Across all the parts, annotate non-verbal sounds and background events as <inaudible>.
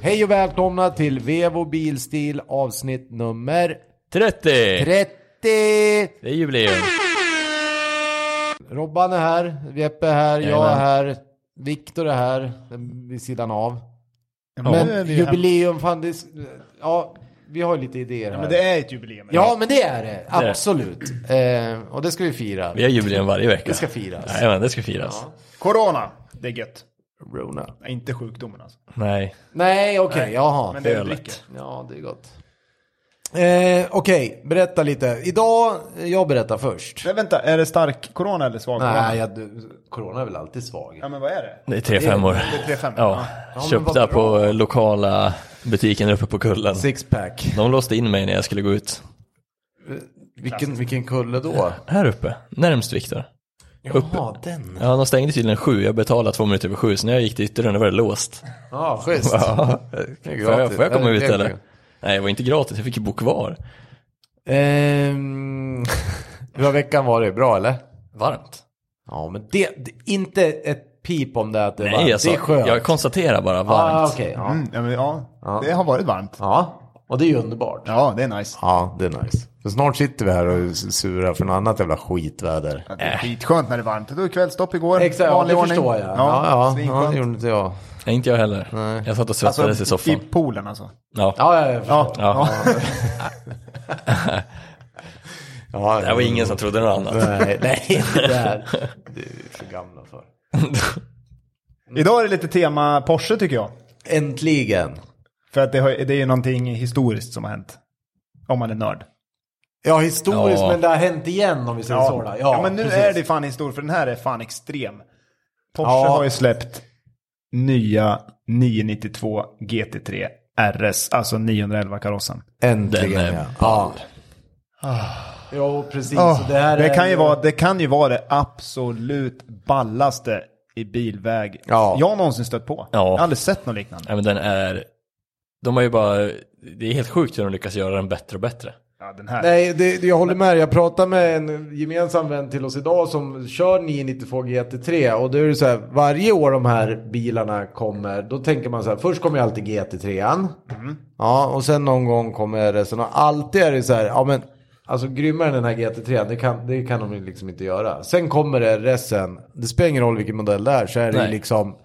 Hej och välkomna till Vevo Bilstil avsnitt nummer 30! 30! Det är jubileum. Robban är här, Jeppe är här, jag är Jajamän. här, Viktor är här den vid sidan av. Ja, Men nu är vi ju hemma. jubileum, fan det... Ja, vi har ju lite idéer här. Men det är ett jubileum. Ja, men det är det. Absolut. Eh, och det ska vi fira. Vi har jubileum varje vecka. Det ska firas. Nej, men det ska firas. Corona, det är gött. Rona. Nej, Inte sjukdomen alltså. Nej. Nej, okej, jaha. Men det är ölet. dricker. Ja, det är gott. Eh, okej, berätta lite. Idag, jag berättar först. Men vänta, är det stark corona eller svag corona? Nej, jag, du- corona är väl alltid svag. Ja men vad är det? Det är tre femmor. Det är tre fem. Ja, men köpta vad bra. på eh, lokala butiken uppe på kullen. Sixpack. De låste in mig när jag skulle gå ut. Vilken, vilken kulle då? Här uppe, närmst Viktor. Jaha, den. Ja, de stängde tydligen sju. Jag betalade två minuter över sju, så när jag gick till ytterdörren var det låst. Ja, schysst. Ja. Det är <laughs> Får jag, får jag komma gratis. ut Det är eller? gratis. Nej, det var inte gratis. Jag fick ju bo kvar. Ehm, hur har veckan varit? Bra eller? Varmt. Ja, men det, det inte ett pip om det att det är varmt. Nej, jag, sa, det är skönt. jag konstaterar bara ah, varmt. okej, ja. Mm, ja, men, ja, det har varit varmt. ja, och det är ju underbart. Ja, det är nice. Ja, det är nice. För snart sitter vi här och är sura för något annat jävla skitväder. Att Det är skitskönt när det är varmt. Det var kvällstopp igår. Exakt, ja, det vanlig ordning. förstår jag. Ja, ja, ja, det gjorde inte jag. Nej, inte jag heller. Jag satt och svettades alltså, i soffan. I poolen alltså. Ja. Ja, ja, jag förstår. ja. Ja. ja, Det var ingen som trodde något annat. Nej, nej, det där. Det är vi för gamla för. Idag är det lite tema Porsche tycker jag. Äntligen. För att det, har, det är ju någonting historiskt som har hänt. Om man är nörd. Ja, historiskt, Ja. men det har hänt igen om vi säger så. då. Ja, ja, men nu precis. är det fan historiskt för den här är fan extrem. Porsche Ja. har ju släppt nya 992 GT3 RS, alltså 911 karossen. Äntligen, Den är ja. Ah. ja. Jo, Ah. precis. så det här det, är kan ju vara, det kan ju vara det absolut ballaste i bilväg Ja. jag någonsin stött på. Ja. Jag har aldrig sett något liknande. Nej, men den är... De har ju bara... Det är helt sjukt hur de lyckas göra den bättre och bättre. Ja, den här. Nej, det, det- jag håller med. Jag pratade med en gemensam vän till oss idag som kör 992 GT3 och då är det så här, varje år de här bilarna kommer, då tänker man så här, först kommer ju alltid GT3an. Ja, och sen någon gång kommer resten och alltid är det så här, ja men alltså grymmare än den här GT3an, det kan, det kan de ju liksom inte göra. Sen kommer det resten, det spelar ingen roll vilken modell det är, så är det ju Nej. liksom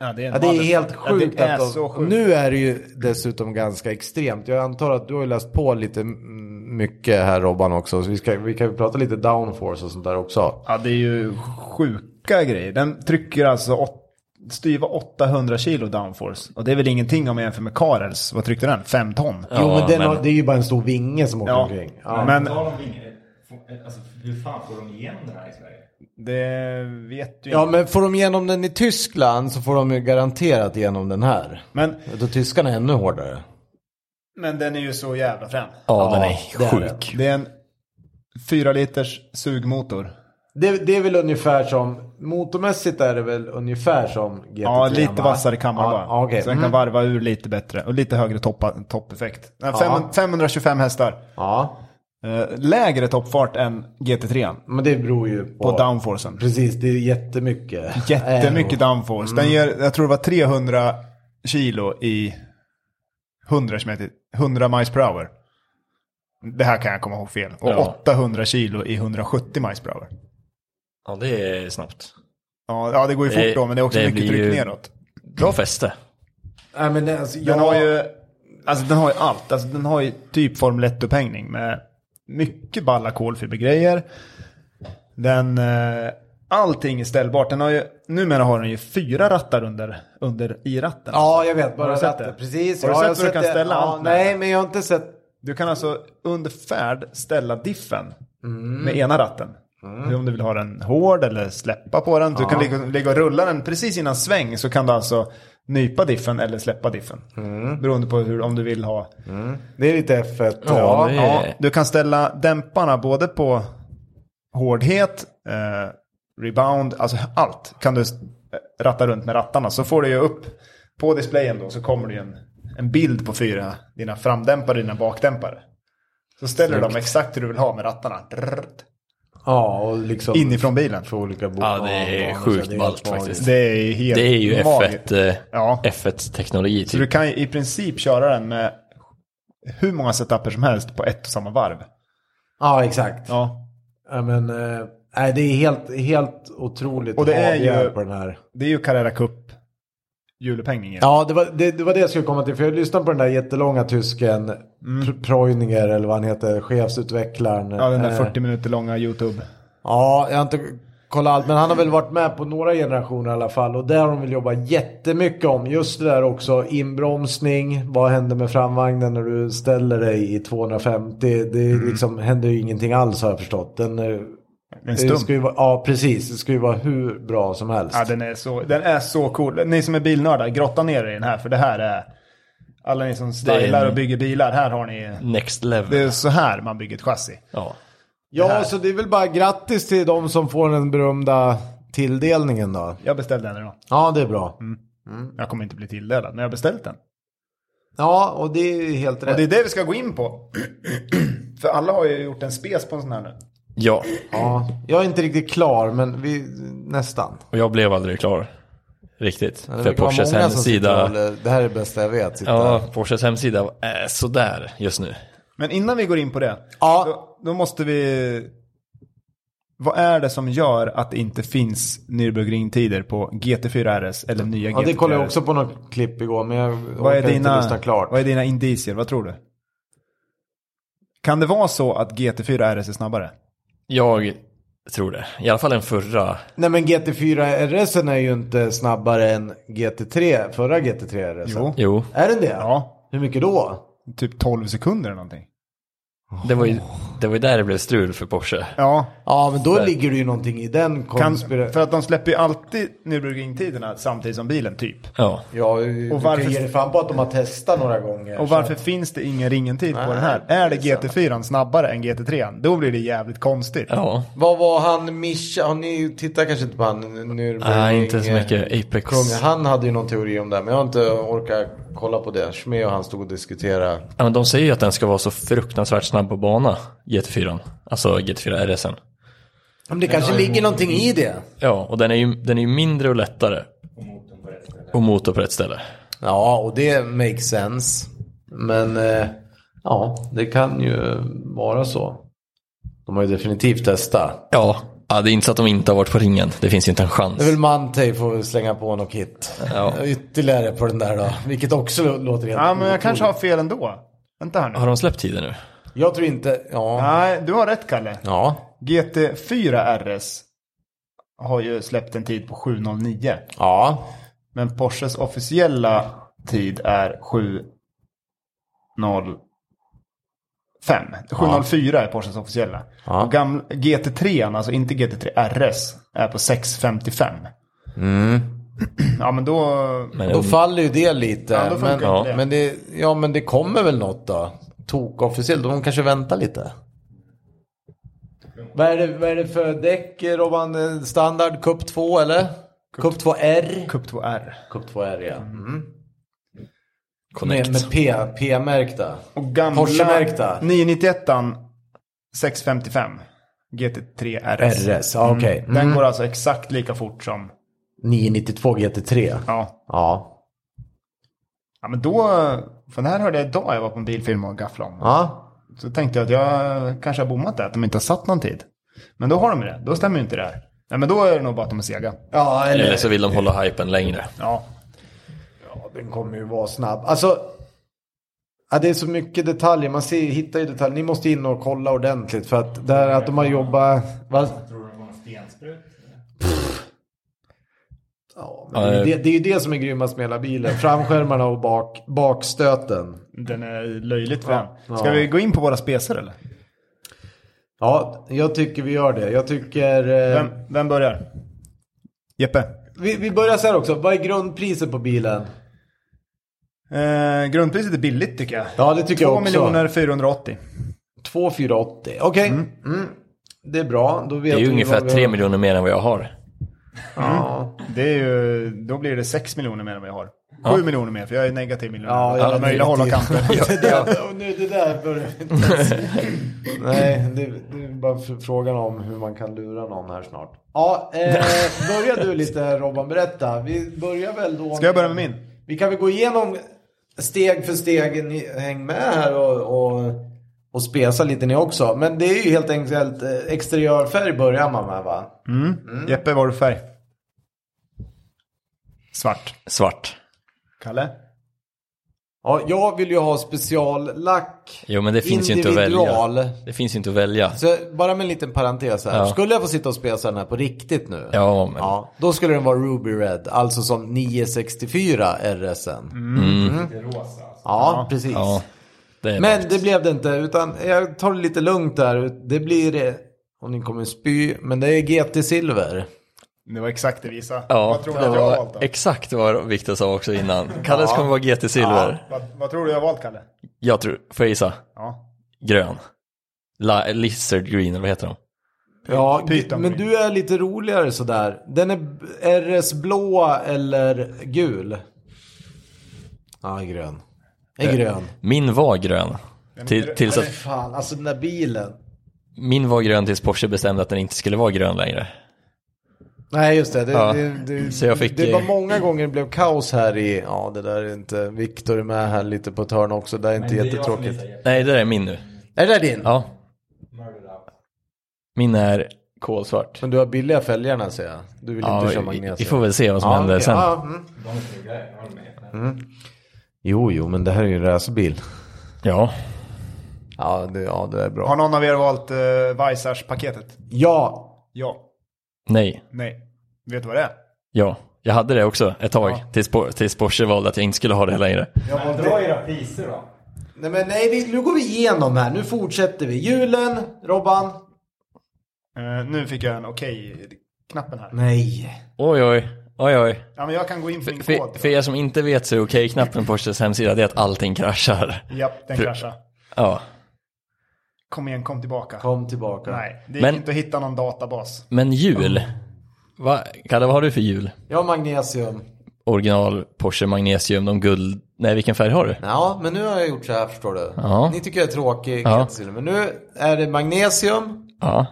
Ja, det är, en Ja, det är vanlig- helt Ja, sjukt. det är att de, så sjukt. Nu är det ju dessutom ganska extremt. Jag antar att du har ju läst på lite mm, mycket här Robban också. Så vi, ska, vi kan ju prata lite downforce och sånt där också. Ja, det är ju sjuka grejer. Den trycker alltså åt, styva 800 kilo downforce. Och det är väl ingenting om jag jämför med Karels. Vad tryckte den? 5 ton? Ja, jo men, den men- Har, det är ju bara en stor vinge som åker Ja. omkring. Ja. Men Alltså, hur fan får de igen den här i Sverige? det vet ju ja inte. men får de igenom den i Tyskland så får de ju garanterat igenom den här. Men, Då tyskarna är ännu hårdare. men den är ju så jävla frän. Ja, den det är är sjuk. Det är en 4 liters sugmotor. Det, det är väl ungefär som, motormässigt är det väl ungefär som GT3. Ja, lite vassare kammar ja, bara. Ja, okej. Mm. Så den kan varva ur lite bättre. Och lite högre toppa, toppeffekt. Den har Ja. fem- 525 hästar. ja. Eh, Lägre toppfart än GT3. Men det beror ju På på... downforcen. Precis, det är jättemycket. Jättemycket Eh. downforce. Den ger, jag tror det var 300 kilo i 100 som heter 100 miles per hour. Det här kan jag komma ihåg fel. Och Ja. 800 kilo i 170 miles per hour. Ja, det är snabbt. Ja, ja det går ju Det- fort då, men det är också det blir mycket tryck ju- neråt. Bra fäste. Nej, men det- alltså, jag... Den har ju, alltså den har ju allt. Alltså den har ju typ Formel 1-upphängning med mycket balla kolfibergrejer. Den, eh, allting är ställbart. Den har ju, numera har den ju fyra rattar under, under i ratten. Ja, jag vet. Bara Har du sett sett det. det? Precis. Har du ja, sett jag hur du kan det. ställa ja, allt med Nej, men jag har inte sett. Du kan alltså under färd ställa diffen med ena ratten. Om du vill ha den hård eller släppa på den. Du kan ligga, ligga och rulla den precis innan sväng så kan du alltså nypa diffen eller släppa diffen. Beroende på hur, om du vill ha. Det är lite F1. Ja, Ja, det- Ja, du kan ställa dämparna både på hårdhet, eh, rebound, alltså allt kan du s- eh, ratta runt med rattarna. Så får du ju upp på displayen då så kommer det ju en, en bild på fyra, dina framdämpare och dina bakdämpare. Så ställer du dem exakt hur du vill ha med rattarna. Drrrt. Ja, och liksom Inifrån bilen. för olika bolag. Ja, det är sjukt ballt faktiskt. Det är ju helt Det är ju magiskt. F1, eh, Ja. F1 teknologi Så du typ. kan ju i princip köra den med hur många setuper som helst på ett och samma varv. Ja, exakt. Ja. Ja. men, eh, nej, det är helt, helt otroligt Och det är avgörande ju- på den här. Det är ju Carrera Cup julepengningen. Ja, det var det, det var det jag skulle komma till. För jag lyssnade på den där jättelånga tysken, mm. Preuninger eller vad han heter, chefsutvecklaren. Ja, den där Eh, 40 minuter långa YouTube. Ja, jag har inte kollat allt. Men han har väl varit med på några generationer i alla fall. Och där har de väl jobbat jättemycket om. Just det där också, inbromsning. Vad händer med framvagnen när du ställer dig i 250? Det är liksom, händer ju ingenting alls har jag förstått. Den, eh, Mm. En det stum. ska ju vara, ja, precis. Det ska ju vara hur bra som helst. Ja, den är, så, den är så cool. Ni som är bilnördar, grotta ner er i den här. För det här är... Alla ni som är en- stylar och bygger bilar, här har ni... Mm. Next Det level. är så här man bygger ett chassi. Ja. ja, så det är väl bara grattis till de som får den berömda tilldelningen då. Jag beställde den idag. Ja, det är bra. Mm. Mm. Jag kommer inte bli tilldelad, men jag har beställt den. Ja, och det är helt Och rätt. det är det vi ska gå in på. <clears throat> För alla har ju gjort en spes på en sån här nu. ja, Ja, jag är inte riktigt klar, men vi, nästan. och jag blev aldrig klar. Riktigt. Ja, det För verkar vara Porsches många som sitter och hemsida, håller- Det här är det bästa jag vet. sitter här. ja, Porsches hemsida är sådär just nu. Men innan vi går in på det, Ja. då, då måste vi... Vad är det som gör att det inte finns Nürburgring-tider på GT4 RS eller nya Ja, GT4 det kollade jag RS? också på något klipp igår, men jag Vad är, orkar inte lyssna dina, klart. vad är dina indicier? Vad tror du? Kan det vara så att GT4 RS är snabbare? Jag tror det. I alla fall den förra. Nej, men GT4 RS är ju inte snabbare än GT3, förra GT3 RS. Jo. Jo, Är den det? Ja, Hur mycket då? typ 12 sekunder eller någonting. det var ju, det var ju där det blev strul för Porsche. Ja, Ja, men då ligger det ju någonting i den kan, konspirationen. för att de släpper ju alltid Nürburgring-tiderna samtidigt som bilen typ. Ja, Ja, och Och varför... varför- du kan ge dig fan på att de har testat några gånger. Och varför finns det ingen ringentid på den här? Är det GT4 snabbare än GT3? Då blir det jävligt konstigt. ja. Vad var han, Mischa, har ni tittat kanske inte på han? Nürburgring, Nej, inte så mycket Apex. Kung, han hade ju någon teori om det, här, men jag har inte orkat kolla på det. Schme och han stod och diskuterade. Ja, men de säger ju att den ska vara så fruktansvärt snabb på bana, GT4. Alltså GT4 RSen. Men det kanske ligger någonting i det. Ja, och den är ju, den är ju mindre och lättare. Och motorn på rätt ställe. Och motor på rätt ställe. Ja, och det makes sense. Men eh, ja, det kan ju vara så. De har ju definitivt testat. Ja. ja, det är inte så att de inte har varit på ringen. Det finns ju inte en Det är chans. väl Mantey får vi slänga på något hit. Ja. <laughs> Ytterligare på den där då, vilket också lå- låter helt... Ja, men jag kanske har fel ändå. Vänta här nu. Har de släppt tiden nu? Jag tror inte... Ja. Nej, du har rätt Kalle. Ja. GT4 RS har ju släppt en tid på 7.09. Ja. Men Porsches officiella tid är 7.05. 7.04 är Porsches officiella. Ja. Och gamla, GT3, alltså inte GT3 RS, är på 6.55. Mm. Ja, men då... Men Då faller ju det lite. Ja, då funkar men, inte ja. det. Men, det, ja, men det kommer väl något då? Tokofficiellt, de kanske väntar lite. Vad är det, vad är det för däck Robban? Eh, Standard Cup 2 eller? Cup 2R? Cup 2R. Cup 2R ja. Mm. Med, Connect. med P, P-märkta. Och gamla Porsche-märkta. 991 655 GT3 RS. RS, ja okej. Mm. Den går alltså exakt lika fort som... 992 GT3. Ja. Ja. ja, men då... För den här hörde jag idag jag var på en bilfilm och gafflade om. Ja. Så tänkte jag att jag kanske har bommat det, att de inte har satt någon tid. Men då har de ju det, då stämmer ju inte det här. Nej, men då är det nog bara att de är sega. Ja, Eller så vill de hålla hypen längre. Ja. Ja, den kommer ju vara snabb. Alltså, ja, det är så mycket detaljer. Man ser, hittar ju detaljer. Ni måste in och kolla ordentligt. För att, det här att de har jobbat... Va? Tror du det var en stensprut? Ja, men det, är ju det, eh. det är ju det som är grymmast med hela bilen. Framskärmarna och bak, bakstöten. Den är löjligt frän. Ja. Ska vi gå in på våra speser eller? Ja, jag tycker vi gör det. Jag tycker... Eh, Vem, vem börjar? Jeppe. vi, vi börjar så här också. Vad är grundpriset på bilen? Eh, grundpriset är billigt tycker jag. Ja, det tycker 2 jag också. miljoner 480. 2480. Okej. Mm. Det är bra. Då vet Det är ju vi ungefär Mm. vad vi- 3 miljoner mer än vad jag har. Ja. Det är ju, då blir det 6 miljoner mer än vad jag har. Ja. Sju miljoner mer, för jag är negativ miljonär. Ja, jag Alla är möjliga håll och kanter. <laughs> Det där, och nu, det där börjar inte ens- <laughs> Nej, det, det är bara fr- frågan om hur man kan lura någon här snart. Ja, eh, <laughs> börja du lite här, Robban, berätta. Vi börjar väl då. Ska jag börja med min? Vi kan väl gå igenom steg för steg. Ni, häng med här och, och, och spesa lite ni också. Men det är ju helt enkelt eh, exteriörfärg börjar man med va? Mm. Jeppe, vad har du för färg? Svart. Svart. Kalle? Ja, jag vill ju ha speciallack. Jo, men det finns ju inte att individual. välja. Det finns ju inte att välja. Så bara med en liten parentes här. Ja. Skulle jag få sitta och spesa den här på riktigt nu? Ja, men... Ja, då skulle den vara Ruby Red, alltså som 964 RSN. Mm. Det rosa alltså. Mm. Ja, precis. Mm. Ja, det är Men det blev det inte, utan jag tar det lite lugnt där. Det blir, eh, och ni kommer spy, men det är GT Silver. Det var exakt det vi sa. Ja, vad tror du det att jag har valt då? var exakt vad Viktor sa också innan. Kalles kommer vara GT Silver. Vad, vad tror du jag har valt, Kalle? Jag tror, får jag gissa? Ja. Grön. La, lizard green, eller vad heter de? Ja, Typ, Python men Green. du är lite roligare sådär. Den är b- RS blå eller gul? Ja, grön. Det Eh. är grön. Min var grön. Till, tills att, Fan, alltså den där bilen. min var grön tills Porsche bestämde att den inte skulle vara grön längre. Nej just det, det, Ja. det, det, Så jag fick- det var många gånger det blev kaos här i, ja det där är inte, Viktor är med här lite på ett hörn också, det är inte Det är jag som jättetråkigt. gissar, Jeppe. Nej, det där är min nu. Är det där din? Ja, Murder up. min är kolsvart. Men du har billiga fälgarna säger jag, du vill Ja, inte köra vi, vi magnesia. får väl se vad som händer okej. sen. Ja, mm. De är snyggare, jag håller med. Jo, jo, men det här är ju en racerbil. Ja, Ja det, ja, det är bra. Har någon av er valt uh, Vaisars-paketet? Ja, Ja. nej, Nej. Vet du vad det är? ja. Jag hade det också ett tag, tills, Por- tills Porsche valde att jag inte skulle ha det längre. Men dra era priser då. nej men nej, vi, nu går vi igenom här, nu fortsätter vi. Julen, Robban? Eh, nu fick jag en okej-knappen här. Nej. Oj, oj, oj, oj. Ja, men jag kan gå in på min kod. För, för er som inte vet så är okej-knappen på Porsches hemsida det är att allting kraschar. Japp, den för- kraschade. Ja. Kom igen, kom tillbaka. Kom tillbaka. Nej, det gick Men- inte att hitta någon databas. Men jul. Va, Kalle, vad har du för jul? Jag har magnesium. Original Porsche Magnesium, de guld... Nej, vilken färg har du? Ja, men nu har jag gjort så här förstår du. Ja. Ni tycker jag är tråkig, Ja. Katsil, men nu är det magnesium Ja.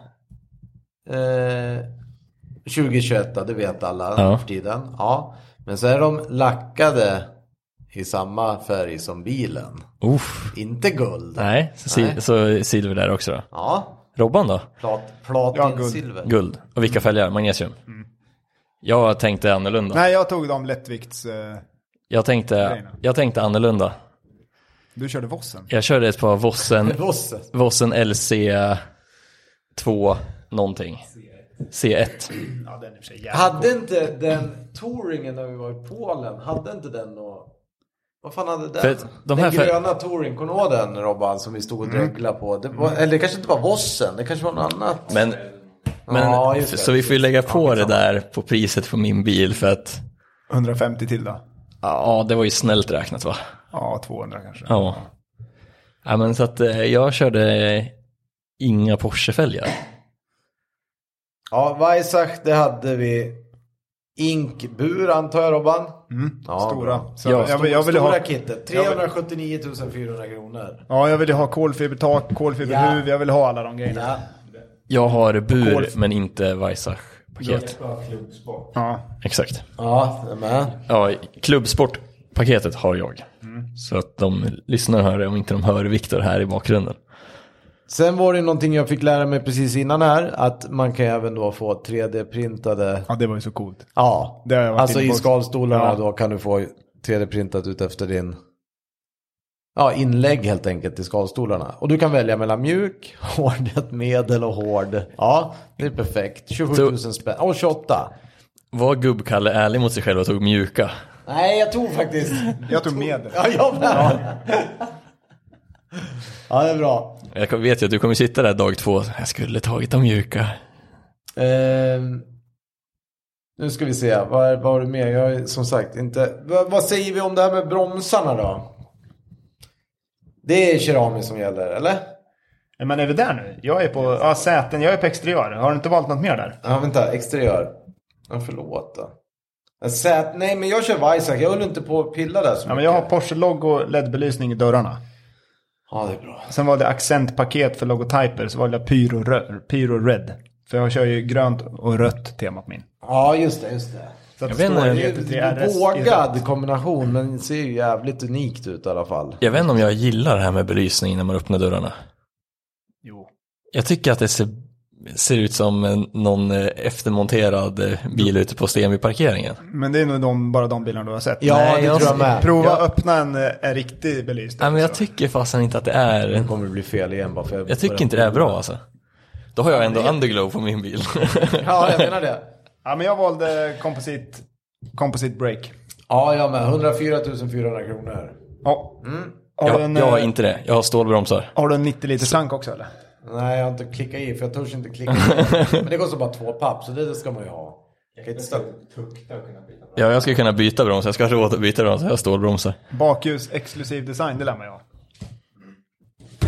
eh, 2021, det vet alla Ja. för tiden. Ja. Men så är de lackade i samma färg som bilen. Uff. Inte guld. Nej, så, sil- Nej. så silver där också då. Ja, Robban då? plat, Ja, guld. platinsilver. Guld. Och vilka fälgar? Magnesium? Jag tänkte annorlunda. Mm. Nej, jag tog de lättvikts... eh, Jag tänkte, Grejerna. jag tänkte annorlunda. du körde Vossen. Jag körde ett par Vossen, <laughs> Vosse. Vossen LC 2 någonting. C1. Ja, den är i och för sig jävligt Hade inte den touringen när vi var i Polen, hade inte den något... Vad fan hade den? För att de här Mm. den för- gröna touringen, kommer du ihåg den Robban som vi stod och dreglade på? Det var, Eller det kanske inte var Vossen, det kanske var något annat. Men, men Ja, just det. så vi får ju lägga på det där på priset på min bil för att 150 till då? ja, det var ju snällt räknat va? Ja, 200 kanske. Ja. ja men så att eh, jag körde inga Porsche-fälgar. Ja, Weissach det hade vi. Inkbur antar jag Robban? Ja, Mm. Stora. bra. Så Ja, jag, jag, jag ville Stora ha, kittet, 379 400 kronor. ja, jag ville ha kolfibertak, kolfiberhuvud, jag ville ha alla de grejerna. Ja. Jag har bur Golf. men inte Weissach-paket. Jeppe har klubbsport. Ja. Exakt. Ja, jag är med. Ja, klubbsportpaketet har jag. Mm. Så att de lyssnar hör det om inte de hör Viktor här i bakgrunden. Sen var det någonting jag fick lära mig precis innan här. Att man kan även då få 3D-printade. ja, det var ju så coolt. Ja, Det har jag varit alltså inne i på. skalstolarna Ja. då kan du få 3D-printat ut efter din ja, inlägg helt enkelt i skalstolarna. Och du kan välja mellan mjuk, <laughs> hårdet, medel och hård. Ja, det är perfekt. 27 000 spänn. Åh, 28. Var gubb-Kalle ärlig mot sig själv och tog mjuka? Nej, jag tog faktiskt. <laughs> Jag tog med det. Ja, jag med. Ja, det är bra. Jag vet ju att du kommer sitta där dag två. Jag skulle tagit de mjuka. Ehm, nu ska vi se, vad, är, vad har du mer? Jag är som sagt inte... Vad- vad säger vi om det här med bromsarna då? Det är keramik som gäller, eller? Men är vi där nu? Jag är på ja, säten, jag är på exteriör. Har du inte valt något mer där? Ja, vänta, exteriör. Ja, förlåt då. Z, nej men jag kör Visak, jag håller inte på att pilla där så Ja, men mycket. jag har Porsche-logo, LED-belysning i dörrarna. Ja, det är bra. Sen var det accentpaket för logotyper, så valde jag pyro, rö- pyro red. För jag kör ju grönt och rött tema på min. Ja, just det, just det. Så att Jag vet det står inte. Det är ju en GT3RS i rött. vågad kombination, men den ser ju jävligt unikt ut i alla fall. Jag vet inte om jag gillar det här med belysning när man öppnar dörrarna. Jo. Jag tycker att det ser, ser ut som en- någon eh, eftermonterad eh, bil ute på Stenby-parkeringen. Men det är nog de, bara de bilarna du har sett. Ja, Nej, det jag- tror jag med. Prova Ja. öppna en, eh, en riktig belysning. Nej, men jag Så. tycker fasen inte att det är... Det kommer bli fel igen bara för jag... Jag tycker inte det är bra alltså. Då har jag ändå underglow på min <laughs> bil. Ja, jag menar det. ja, men jag valde composite, composite break. Ja, jag med. 104 400 kronor. Ja. Mm. Har, du jag, en, jag har eh, inte det. Jag har stålbromsar. har du en 90 liters tank också eller? Nej, jag har inte klickat i för jag törs inte klicka <laughs> i. Men det kostar bara två papp, så det, det ska man ju ha. Jag kan inte ställa- Tukta och kunna byta. Ja, jag ska kunna byta broms. Jag ska ha råd att byta broms. Jag har stålbromsar. Bakljus exklusiv design, det lär man ju ha.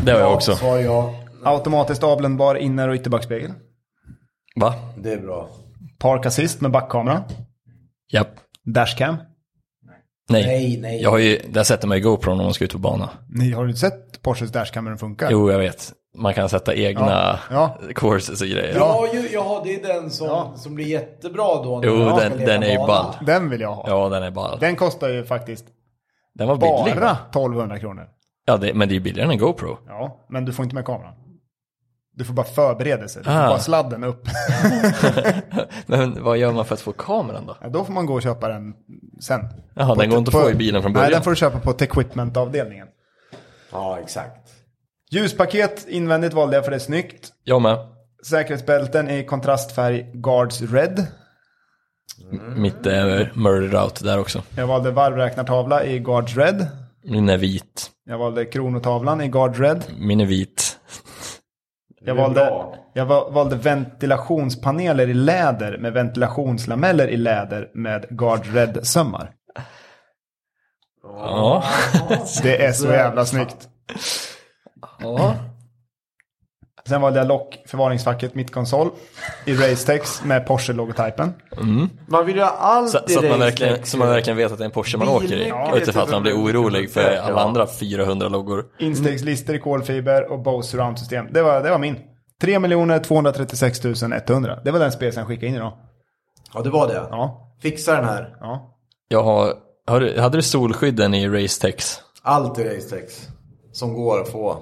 Det har jag också. Svar ja. Automatiskt avländbar inner och ytterbackspegel. Va? Det är bra. Park assist med backkamera. Japp. Dashcam. Nej. Nej, nej. Jag har ju, där sätter man ju GoPro när man ska ut på bana. Ni har ju inte sett Porsches dashcam hur den funkar? Jo, jag vet. Man kan sätta egna Ja. courses och grejer. Ja, ju, ja, det är den som, Ja. som blir jättebra då. när Jo, man ska den- leka den är ju bana. ball. Den vill jag ha. Ja, den är ball. Den kostar ju faktiskt Den var billig. bara 1200 kronor. Ja, det, men det är ju billigare än GoPro. Ja, men du får inte med kameran. Du får bara förberedelse. Du får Ah. bara sladden upp. <laughs> Men vad gör man för att få kameran då? Ja, då får man gå och köpa den sen. Jaha, den går inte att få i bilen från början. Nej, den får du köpa på Techquipment-avdelningen. Ja, exakt. Ljuspaket invändigt valde jag för det är snyggt. Jag med. Säkerhetsbälten i kontrastfärg Guards Red. Mitt eh, murder out där också. Jag valde varvräknartavla i Guards Red. Min är vit. Jag valde kronotavlan i Guards Red. Min är vit. Jag Det är valde, bra. jag va- valde ventilationspaneler i läder med ventilationslameller i läder med Guard Red-sömmar. Ja. <laughs> Det är så jävla snyggt. ja. Sen valde jag lock, förvaringsfacket, mittkonsol i Racetex med Porsche-logotypen. Man vill ju ha allt Så, så, att man race verkligen, liksom. så man verkligen vet att det är en Porsche man åker i. Bilnyckel Utifrån att man blir orolig för Ja. alla andra 400 loggor. Instegslister i kolfiber och Bose surroundsystem. Det var, det var min. 3 236 100. Det var den spelsen jag skickade in idag. Ja, det var det. Ja, Fixa den här. ja. Jag har, har du, hade du solskydden i Racetex? Allt i Racetex. Som går att få.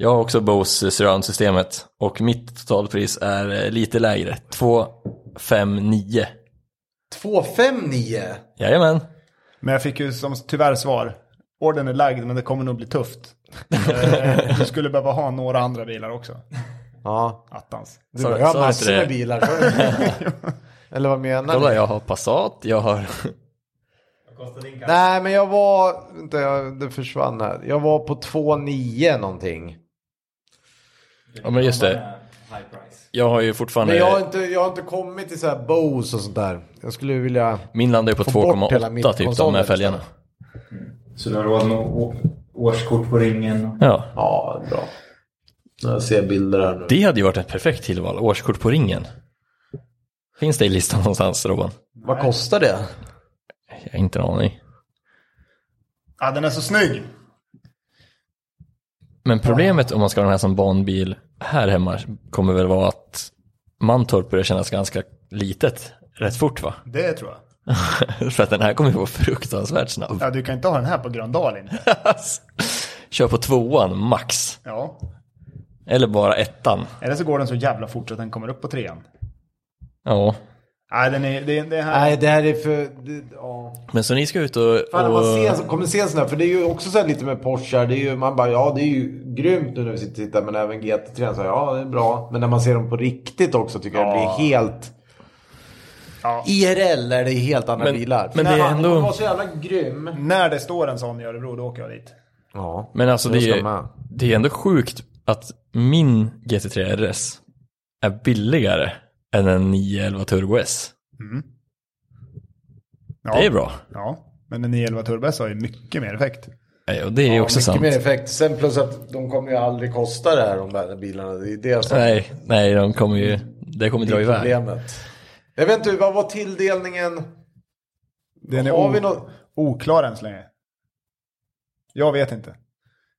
Jag har också Bose surround-systemet och mitt totalpris är eh, lite lägre. 259. 259. Jajamän. Men jag fick ju som tyvärr svar. Ordern är lagd men det kommer nog bli tufft. Eh, du skulle behöva ha några andra bilar också. Ja. Attans. Du, Sa- jag har sa inte massor det. med bilar. sa du det? <laughs> Eller vad menar Kolla, ni? jag har Passat, jag har... Vad kostar din katt? Nej, men jag var... Vänta, jag, det försvann här. Jag var på 29 någonting. Ja, men just det. High price. Jag har ju fortfarande... Men jag har inte, jag har inte kommit till så här Bose och sånt där. Jag skulle vilja... Min landar ju på Få bort hela 2,8 typ, de mittkonsolen här fälgarna. Så du har råd med å- årskort på ringen? Ja. Ja, bra. Jag ser bilder här nu. Det hade ju varit ett perfekt tillval, årskort på ringen. Finns det i listan <laughs> någonstans, Robban? Vad kostar det? Jag har inte en aning. Ja, den är så snygg. Men problemet om man ska ha den här som banbil här hemma kommer väl vara att Mantorp börjar kännas ganska litet rätt fort va? <laughs> Det tror jag. För att den här kommer ju vara fruktansvärt snabb. <laughs> Ja, du kan inte ha den här på Gröndal inte. Kör på tvåan max. Ja. Eller bara ettan. Eller så går den så jävla fort så att den kommer upp på trean. Ja. Nej, den är... Det, det här. Nej, det här är för... Det, ja. Men så ni ska ut och... Fan, när och... man ser, en sån- kommer se en sån här, för det är ju också så här lite med Porsche. Det är ju, man bara, ja det är ju grymt nu när vi sitter och tittar, men även GT3. Så här, ja, det är bra. Men när man ser dem på riktigt också tycker jag det blir helt... Ja. IRL är det helt andra Men- bilar. men När det är han ändå- kommer vara så jävla grym. När det står en sån i Örebro, då åker jag dit. Ja. Men alltså det Jag ska är, med. det är ändå sjukt att min GT3 RS är billigare än en 911 Turbo S. Mm. Ja. Det är bra. Ja. Men den 911 Turbo S har ju mycket mer effekt. Ja, och det är också mycket sant. mer effekt. Sen plus att de kommer ju aldrig kosta det här de där bilarna. Det är det som Nej, nej, de kommer ju... Det kommer dra är iväg. problemet. Jag vet inte, vad var tilldelningen? Den är Har vi o- nå- oklar än så länge. Jag vet inte.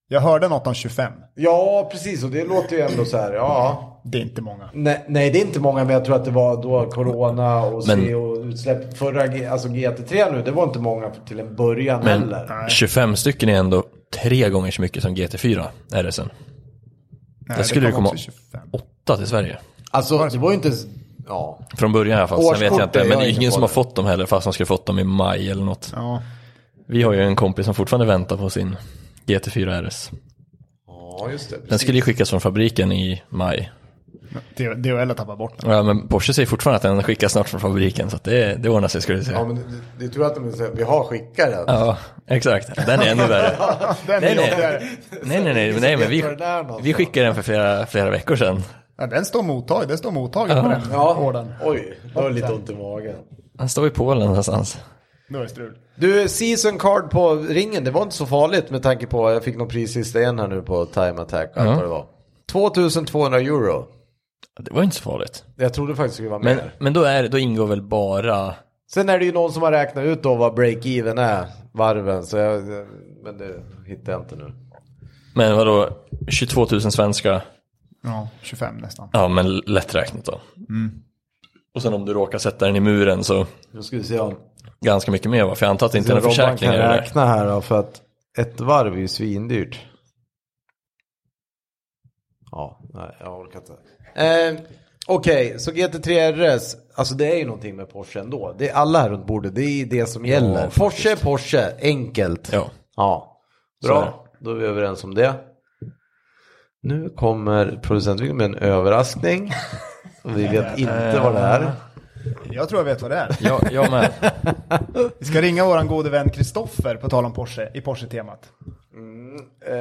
Jag hörde något om 25. Ja, precis. Och det låter ju ändå så här, ja. Det är inte många. Nej, nej, det är inte många, men jag tror att det var då corona och Men- CO-utsläpp. Förra G- alltså GT3 nu, det var inte många till en början Men- heller. 25 stycken är ändå tre gånger så mycket som GT4 är det sen. Nej, Där skulle det kom komma också 25. åtta till Sverige. Alltså, det var ju inte... ens- Ja. Från början i alla fall, sen vet jag Årskortet, inte. jag Men är det är inne ingen på som det. har fått dem heller, fast de skulle fått dem i maj eller något. Ja. Vi har ju en kompis som fortfarande väntar på sin GT4 RS. Ja, just det. precis. Den skulle ju skickas från fabriken i maj. D- DHL har tappat bort den. Ja, men Porsche säger fortfarande att den skickas snart från fabriken, så att det, det ordnar sig skulle jag säga. Ja, men det, det är tur att de säger vi har skickat den. Ja, exakt. Den är <laughs> ännu värre. Den, Nej, är nej, jobbigare. nej, nej, nej, nej men vi, vi skickade den för flera, flera veckor sedan. Ja, den står mottag. Det står mottaget på den ordern. Oj, då har lite ont i magen. Den står i Polen någonstans. Då är det strul. Du, season card på ringen, det var inte så farligt med tanke på, jag fick någon pris sist igen här nu på Time Attack och allt Ja. vad det var. 2200 euro. Det var inte så farligt. Jag trodde faktiskt det skulle vara Men, mer. men då, är, då ingår väl bara... Sen är det ju någon som har räknat ut då vad break-even är, varven. Så jag, men det hittar jag inte nu. Men vadå, 22 000 svenska? Ja, 25 nästan. Ja, men lätt räknat då. Mm. Och sen om du råkar sätta den i muren så Nu ska vi se om ganska mycket mer va? För jag antar att det inte är några Alltså, Robban kan försäkringar i det där. räkna här då, för att ett varv är ju svindyrt. Ja, nej, jag orkar inte. Eh, Okej, så GT3 RS, alltså det är ju någonting med Porsche ändå. Det är alla här runt bordet, det är det som gäller. faktiskt. Porsche är Porsche, enkelt. Ja. Ja, Så är det. bra. Då är vi överens om det. Nu kommer producenten med en <laughs> överraskning. Vi vet inte vad det är. Jag tror jag vet vad det är. Jag, jag med. Vi ska ringa våran gode vän Kristoffer på tal om Porsche i Porsche-temat. Eh,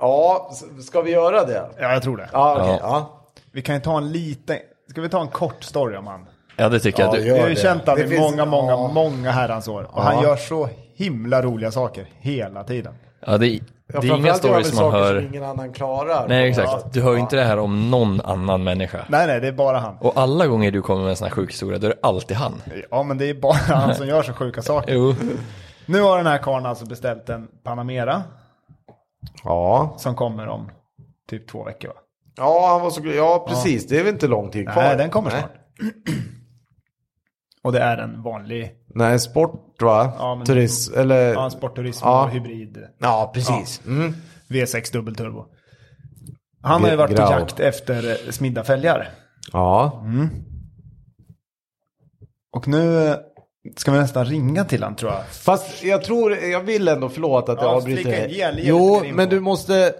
ja, s- ska vi göra det? Ja, jag tror det. Ja, okej. Ja. ja. Vi kan ju ta en liten... Ska vi ta en kort story om han? Ja, det tycker jag. Ja, Du, Gör Vi har ju det. känt honom Det i finns- många, många, ja. många herrans år. Och han gör så himla roliga saker hela tiden. ja, det, det är inga framförallt gör stories väl som man saker hör. som ingen annan klarar. Nej, exakt. Du hör ju inte det här om någon annan människa. Nej, nej, det är bara han. Och alla gånger du kommer med en sån här sjuk historia, då är det alltid han. Ja, men det är bara <laughs> han som gör så sjuka saker. Jo. Nu har den här karln alltså beställt en Panamera Ja. som kommer om typ två veckor, va? Ja, han var så gl- ja, precis. Det är väl inte lång tid kvar. Nej, den kommer Nej. snart. <clears throat> Och det är en vanlig Nej, sport va? Ja, men- Turism, eller? ja, Ja, en sportturism Ja. och hybrid precis. Mm. V6 dubbelturbo. Han har ju Ge- varit på grau. jakt efter eh, smidda fälgar. Ja. Och nu eh, ska vi nästan ringa till han tror jag. Fast jag tror, jag vill ändå, förlåt att Ja, jag avbryter flika in, dig. ge lite Jo, mer info. men du måste...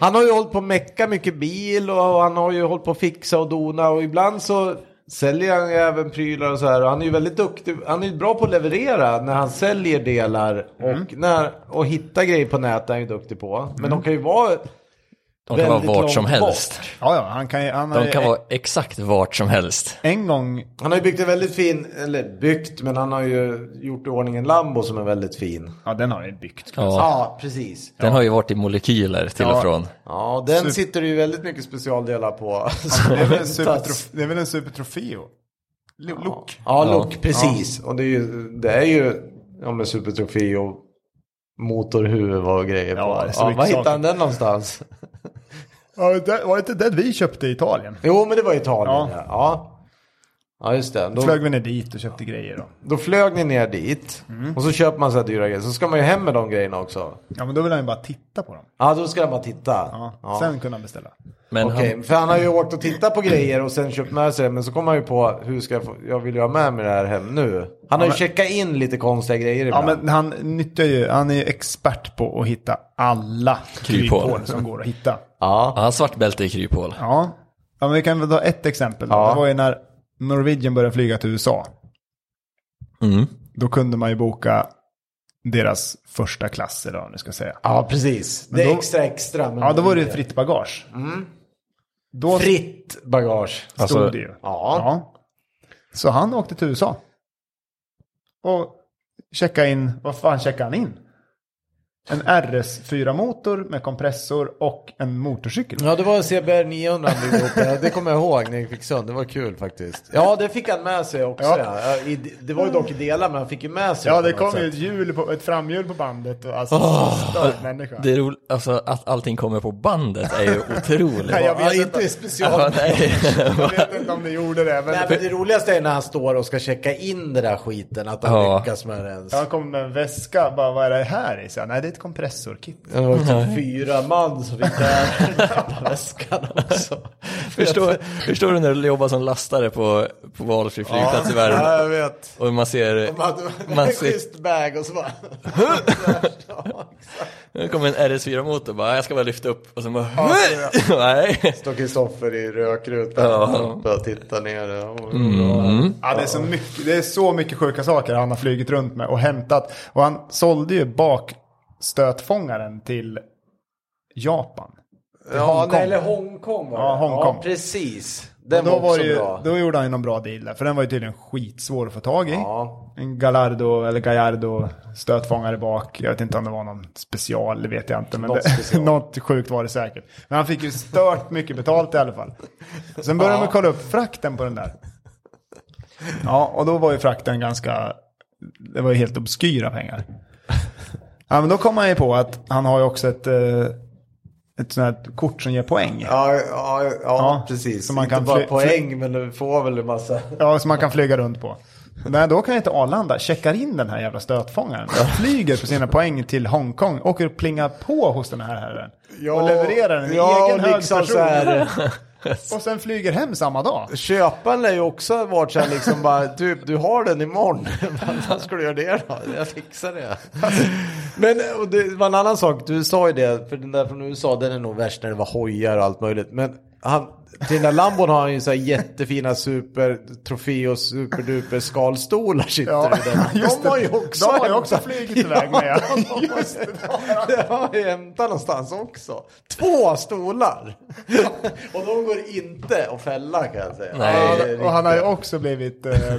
Han har ju hållit på och mecka mycket bil och han har ju hållit på och fixa och dona och ibland så säljer han ju även prylar och så här. Och han är ju väldigt duktig, han är ju bra på att leverera när han säljer delar och, när, och hitta grejer på nätet är han ju duktig på. Men de kan ju vara De kan vara väldigt vart som långt helst. bort. Ja, ja, han kan ju, han har De ju kan en, vara exakt vart som helst. en gång, Han har ju byggt en väldigt fin, eller byggt, men han har ju gjort i ordning en Lambo som är väldigt fin. ja den har ju byggt. Ja. Ja, precis. Den har ju varit i molekyler till och Ja. från. Ja, den Super- sitter det ju väldigt mycket specialdelar <laughs> på. Det är väl en, Tats. supertrof- det är väl en supertrofeo? Lo- Look. ja, look, precis. Och det är ju, det är ju ja, men supertrofi och motorhuvud och grejer Ja, det är på. så Ja, mycket var hittade saker. han den <laughs> någonstans? Ja, det- var det inte den vi köpte i Italien? Jo, men det var Italien. Ja. Ja, ja. ja just det. Då Flög flög, vi ner dit och köpte grejer då. då flög ni ner dit Mm. och så köper man så här dyra grejer. Så ska man ju hem med de grejerna också. Ja, men då vill han ju bara titta på dem. Ja, då ska man titta. Ja. Ja. Sen kunde han beställa. Men Okej, han, för han har ju åkt och tittat på grejer och sen köpt med sig det. Men så kommer han ju på, hur ska jag få, jag vill ju ha med mig det här hem nu. Han har ju men- checkat in lite konstiga grejer Ja, ibland. men han nyttjar ju, han är ju expert på att hitta alla Kryphål. kryphål som går att hitta. ja. han har svart bälte i kryphål. Ja, ja men vi kan väl ta ett exempel. då. Ja. Det var ju när Norwegian började flyga till USA. Mm. Då kunde man ju boka deras första klass, eller vad man ska säga. Ja, precis. det är då- extra extra. Men Ja, då var det ju fritt bagage. Då stod fritt bagage. Alltså, det ju. Ja. Ja. Så han åkte till USA. Och checkade in, vad fan checkade han in? en RS4-motor med kompressor och en motorcykel. Ja, det var en CBR 900 han byggde ihop. Ja, Det kommer jag ihåg när jag fick sönder. Det var kul faktiskt. Ja, det fick han med sig också. Ja. Ja. I, det var ju dock i delar, men han fick ju med sig Ja, på det något kom sätt. ju ett, hjul på, ett framhjul på bandet. Och alltså, störd människa. Ah. Det är roligt, alltså att allting kommer på bandet är ju otroligt. Nej, jag vet Ja, inte. inte i special. Ja, nej. Jag vet inte om det gjorde det, men Nej, men det roligaste är när han står och ska checka in den där skiten, att han Ja. lyckas med det ens. jag kom med en väska. Bara, vad är det här i? Så jag, Nej, det är ett kompressorkit. Det var typ fyra man som fick bära väskan också. förstår, förstår du när du jobbar som lastare på, på valfri flygplats i världen? Ja, jag vet. Och man ser, De hade en man ser, schysst bag och så bara... nu kommer en RS4-motor bara, jag ska bara lyfta upp och sen bara, <laughs> nej. Står Kristoffer i rökrutan Ja. Mm. uppe och tittar ner. Och... Ja, det, är så mycket, det är så mycket sjuka saker han har flugit runt med och hämtat. Och han sålde ju bakstötfångaren till Japan. Ja, Hongkong. nej, eller Hongkong var det. Ja, Hongkong. Ja, precis. Den Då, var, var också det ju, bra. då gjorde han ju någon bra deal där, för den var ju tydligen skitsvår att få tag i. Ja. En Gallardo eller Gallardo stötfångare bak. Jag vet inte om det var någon special, det vet jag inte. Men Något det, special. <laughs> något sjukt var det säkert. Men han fick ju stört mycket betalt i alla fall. Sen började man kolla upp frakten på den där. Ja, och då var ju frakten ganska... Det var ju helt obskyra pengar. Ja, men då kom han ju på att han har ju också ett, eh, ett sånt här kort som ger poäng. Ja, ja, ja, precis. så man inte kan bara fly- poäng, men du får väl en massa... Ja, som man kan flyga runt på. Nej, då kan jag inte Arlanda checkar in den här jävla stötfångaren. Den flyger på sina poäng till Hongkong, åker och plingar på hos den här herren. och levererar en ja, egen hög liksom person. så här, <laughs> Och sen flyger hem samma dag. Köparen lär ju också ha varit så här liksom bara, typ du har den imorgon. <laughs> Vad ska du göra det då? Jag fixar det. Men och det var en annan sak, du sa ju det, för den där från USA den är nog värst när det var hojar och allt möjligt. Men han, till den där Lambon har han ju så här jättefina super, trofé och superduper skalstolar sitter Ja, i den. just De har det. ju också De har ju också hämtat- flugit iväg med. <laughs> Ja, de har ju- Just det, det har jag hämtat någonstans också. Två stolar! <laughs> och de går inte att fälla kan jag säga. Nej. Ja, Ja, och han har ju också blivit... Eh, <laughs>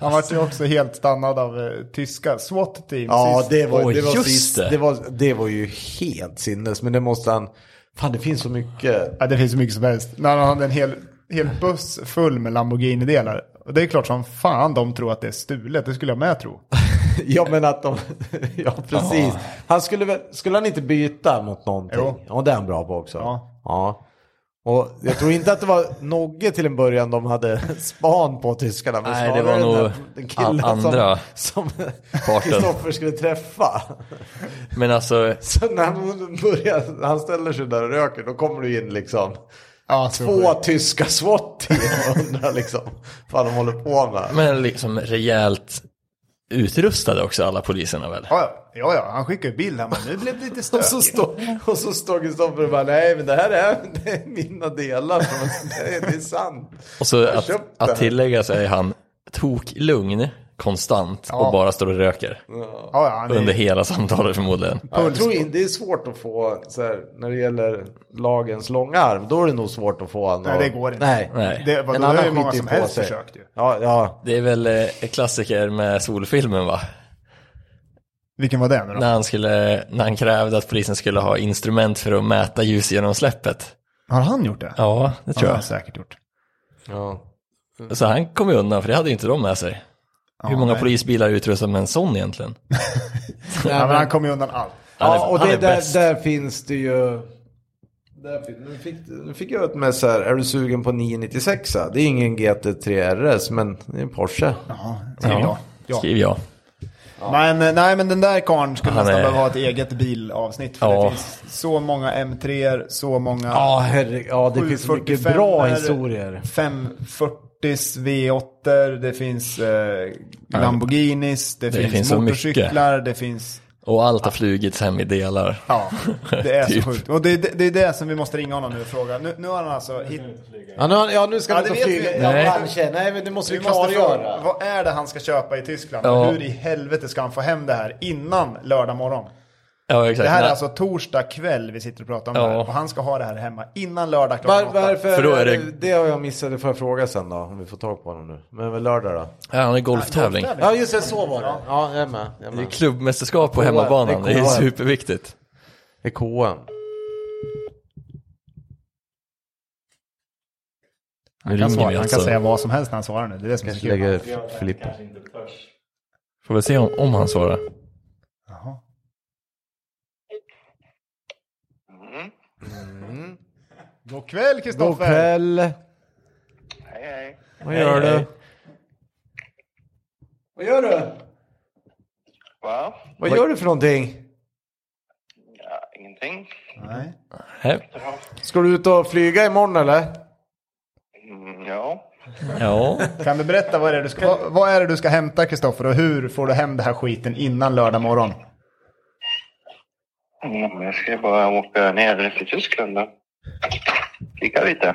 han vart ju också helt stannad av eh, tyska SWAT-team. Ja, sist. det var, Oj, det, var just sist, det. det. var, det var ju helt sinnes, men det måste han... Fan, det finns så mycket. Ja, det finns hur mycket som helst. När han hade en hel, hel buss full med Lamborghini-delar. Och det är klart som fan de tror att det är stulet. Det skulle jag med tro. Ja, men att de... <laughs> ja, precis. Han skulle, väl, skulle han inte byta mot någonting? Jo. Ja, det är han bra på också. Ja. ja. Och jag tror inte att det var Nogge till en början de hade <laughs> span på tyskarna. Men Nej, det snarare var nog den där- den killen all- andra som, som <laughs> parten. Kristoffer skulle träffa. Men alltså, Så när han, börjar, han ställer sig där och röker, då kommer du in liksom. Ja, så Två sjukt. tyska swat och undrar liksom vad de håller på med. men liksom rejält utrustade också alla poliserna väl? Ja, ja, ja, han skickar ju bild här. Men nu blev det <laughs> lite Och så, stökigt. står, och så står Kristoffer och bara nej men det här är, <laughs> det är mina delar. som- Det är, det är sant. Och så Jag att, köpte att den. tillägga så är han toklugn konstant Ja. och bara står och röker Ja, ja, han är- under hela samtalet förmodligen. Ja, jag tror inte det är svårt att få, så här, när det gäller lagens långa arm, då är det nog svårt att få honom. Nej, det går inte. Nej. Nej. Det, vadå, En det är annan ju många skiter ju som på helst sig. försökt ju. Ja, ja. Det är väl eh, en klassiker med solfilmen va? Vilken var det nu då? När han, skulle, när han krävde att polisen skulle ha instrument för att mäta ljusgenomsläppet. Har han gjort det? Ja, det det tror har han säkert gjort. ja. jag. Så han kom ju undan, för det hade ju inte de med sig. Hur många nej. polisbilar är utrustade med en sån egentligen? Ja, men han kom ju undan allt. Han är- Ja, och han det, är där, bäst. där finns det ju... Där, fin- nu, fick, nu fick jag ett med så här, är du sugen på 996? Det är ingen GT3 RS, men det är en Porsche. Ja, Ja. ja. Ja. Skriv ja. Men, eh, nej, men den där karln skulle Han nästan är- behöva ha ett eget bilavsnitt. För Ja. det finns så många M3-er, så många... Ja, herre, ja det finns så mycket 745 bra är- historier. 540s V8, det finns eh, Lamborghinis, det, finns, finns så motorcyklar, det finns... Och allt har flugits hem i delar. Ja, det är Typ. så sjukt. Och det, det, det är det som vi måste ringa honom nu och fråga. Nu, nu har han alltså hit, Ja, nu, ja, nu ska Ja, vi det ta vet flyget. vi. Ja, Nej. kanske. Nej, men det måste vi, vi måste fråga, klargöra. vad är det han ska köpa i Tyskland? Ja. Hur i helvete ska han få hem det här innan lördag morgon? Ja, exakt. Det här är Nej, alltså torsdag kväll vi sitter och pratar om Ja. det här. Och han ska ha det här hemma innan lördag klockan Var, åtta. varför? För då är det... det- har jag missat, det får jag fråga sen då. Om vi får tag på honom nu. Men väl lördag då? ja, han är golftävling. Ja just det, så var det. Ja, jag är med. Jag är Det är med. klubbmästerskap på Det är hemmabanan, det är KHL. superviktigt. Det är KM. Nu Han, ringer vi svarar, han kan alltså. säga vad som helst när han svarar nu. Det är det som är så Kanske kul. lägger Jag F- Filippo. kanske inte törs. Får vi se om, om han svarar. Jaha. Mm. God kväll God Kristoffer! kväll. Hej, hej. Vad gör Hej, du? hej. Vad gör du? Va? Vad gör du för någonting? Ja, ingenting. Nej. Hej. Ska du ut och flyga imorgon eller? Mm, ja. Ja, Kan du berätta vad är det du ska, vad, vad är det du ska hämta Kristoffer och hur får du hem den här skiten innan lördag morgon? Mm, jag ska ju bara åka ner till Tyskland då. Kika lite.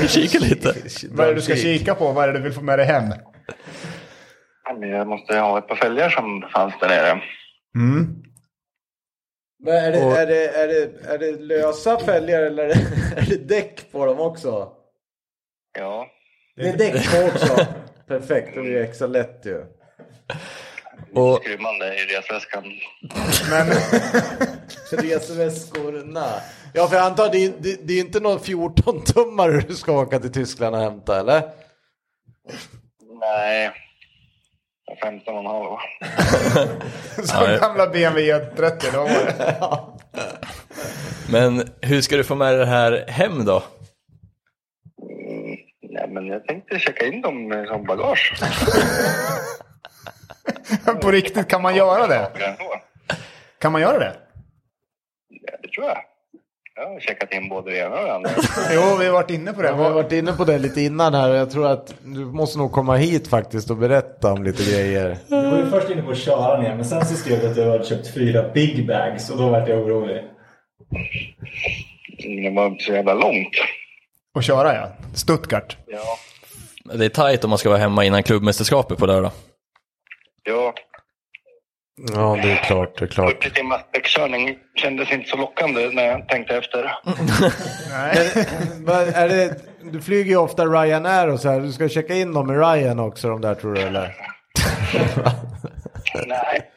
vi kika lite. <laughs> Vad är det du ska kika på? Vad är det du vill få med dig hem? Ja, men Jag måste ha ett par fälgar som fanns där nere. <laughs> Mm. Men är, det, Och- är, det, är, det, är det lösa fälgar eller är det, <laughs> är det däck på dem också? Ja, Det är däck på <laughs> också. Perfekt, då blir det extra lätt ju. Och skrymmande i resväskan. Resväskorna. Ja, för jag antar det är, det, det är inte någon 14-tummare du ska åka till Tyskland och hämta eller? Nej. Jag är 15 och en halv. Som Ja, gamla BMW 30 då var det. Men hur ska du få med dig det här hem då? Mm, nej, men jag tänkte checka in dem eh, som bagage. <laughs> På riktigt, kan man göra det? Ja, ändå. Kan man göra det? Ja, det tror jag. Jag har checkat in både det ena och det andra. Jo, vi har varit inne på det. Jag har varit inne på det lite innan här och jag tror att du måste nog komma hit faktiskt och berätta om lite grejer. Jag var ju först inne på att köra ner men sen så skrev jag att jag hade köpt fyra big bags och då vart jag orolig. Mm, Det var inte så jävla långt. Och köra ja. Stuttgart. Ja, Det är tajt om man ska vara hemma innan klubbmästerskapet på lördag. ja Ja, det är klart, det är klart. 40 timmars däckkörning kändes inte så lockande när jag tänkte efter. Mm. Nej. Vad är det, du flyger ju ofta Ryanair och så här. Du ska checka in dem med Ryan också de där tror du eller? Nej.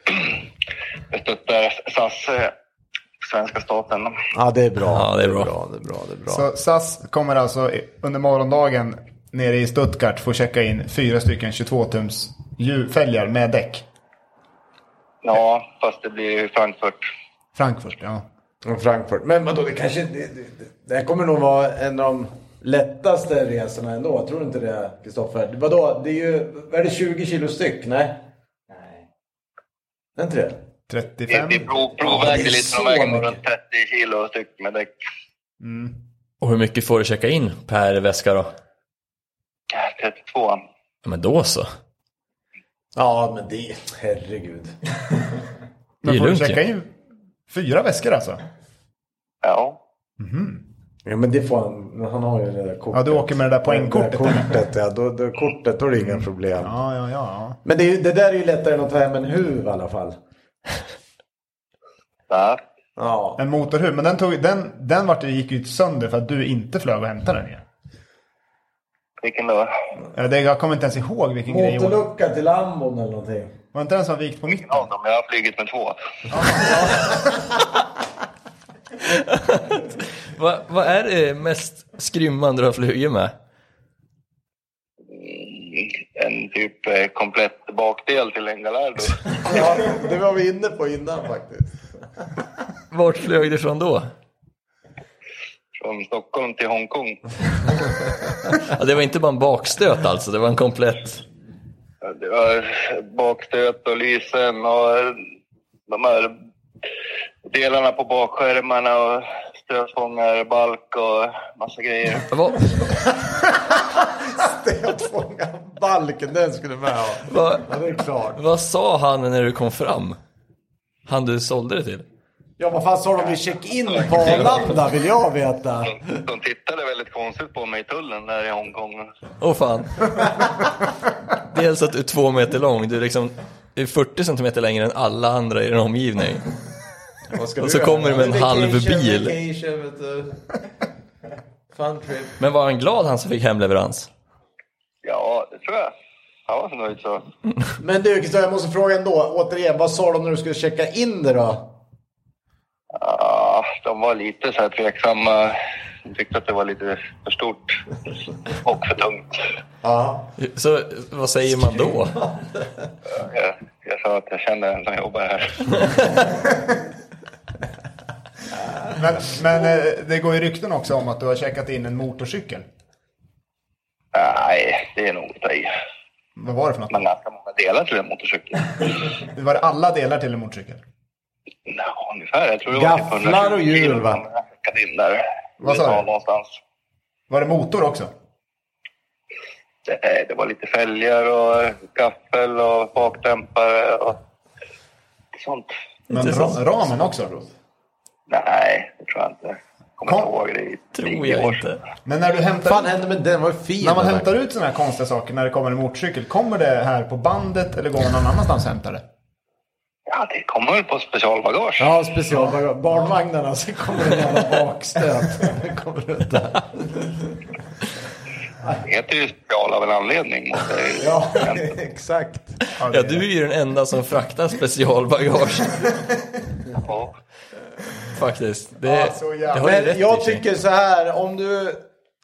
<clears throat> Jag stöttar SAS, eh, svenska staten. Ja det är bra. Ja, det är bra. Det är bra, det är bra. Så SAS kommer alltså i- under morgondagen nere i Stuttgart få checka in fyra stycken 22-tums hjulfälgar med däck. Ja, fast det blir ju Frankfurt. Frankfurt, ja. Från Frankfurt. Men vadå, det kanske... Det, det- det, det här kommer nog vara en av de lättaste resorna ändå. Tror du inte det, Kristoffer? Vadå, det är ju... Vad är det, 20 kilo styck? Nej? Nej. Är inte det? Vi, 35. vi prov, Ja, det provvägde är lite så från vägen mycket. runt 30 kilo styck med däck. Och hur mycket får du checka in per väska då? Ja, 32. Ja, men då så. Ja, men det... Herregud. Det är Men får du lugnt checka ju. in fyra väskor alltså? Ja. Ja, men det får han... Han har ju det där kortet. Ja, du åker med det där Det poängkortet. där kortet, ja. Då, då, kortet, då är det inga problem. Ja, ja, ja, ja. Men det, är, ju- det där är ju lättare än att ta hem en huv i alla fall. Där. Ja. En motorhuv. Men den, tog, den, den vart, ju- gick ju sönder för att du inte flög och hämtade den igen. Vilken då? Eller det- Jag kommer inte ens ihåg vilken grej. det var. Motorlucka till ambon eller någonting. Var inte den som var vikt på mitten? Ja, de, jag har flugit med två. Va, vad är det mest skrymmande du har flugit med? En typ eh, komplett bakdel till <laughs> en Galardo. Ja, det var vi inne på innan <laughs> faktiskt. Vart flög du från då? Från Stockholm till Hongkong. Ja, det var inte bara en bakstöt alltså, det var en komplett... Ja, Det var bakstöt och lysen och eh, de här delarna på bakskärmarna och stötfångare, balk och massa grejer. Va, Att fånga balken, den skulle med ha. va, Ja, det är klart. vad sa han när du kom fram? Han du sålde det till? Ja, vad fan sa de vid check-in på Arlanda vill jag veta. De, de tittade väldigt konstigt på mig i tullen där i Hongkong. Åh fan. Dels att du är två meter lång, du är liksom du är 40 centimeter längre än alla andra i din omgivning. Och så kommer det med en halv bil. Vacation, vet du. Fun trip. Men var han glad han som fick hemleverans? Ja, det tror jag. Han var så nöjd så. Men du Kristoffer, jag måste fråga ändå. Återigen, vad sa de när du skulle checka in det då? Ja, de var lite så här tveksamma. De tyckte att det var lite för stort och för tungt. Ja. Så vad säger man då? Jag, jag sa att jag känner en som jobbar här. Men, men eh, det går ju rykten också om att du har checkat in en motorcykel. Nej, det är nog att ta i. Vad var det för något? Men ganska många delar till en motorcykel. Det var alla delar till en motorcykel. Ja, ungefär. Jag tror det var Gafflar 120 och hjul, kilo va? som jag skickade in där. Vad sa Det var du? Någonstans. Var det motor också? Det, det var lite fälgar och gaffel och bakdämpare och sånt. Men ra- Intressant. ramen också? Nej, det tror jag inte. Jag kommer inte ihåg det i Tror tio år jag sedan. inte. Men när du hämtar fan hände med den? Vad fin När man den hämtar ut sådana här konstiga saker när det kommer en motorcykel, kommer det här på bandet eller går man någon annanstans och hämtar det? Ja, det kommer väl på specialbagage. Ja, specialbagage. Barnvagnarna, så kommer det en jävla bakstöt. Det <laughs> kommer det ut där. Det heter ju special av <laughs> en anledning. Och det är ju- Ja, exakt. det- Ja, du är ju den enda som fraktar specialbagage <laughs> ja. faktiskt. Det, Ja, så jävla- det har du rätt Men jag i, tjej. tycker så här, om du...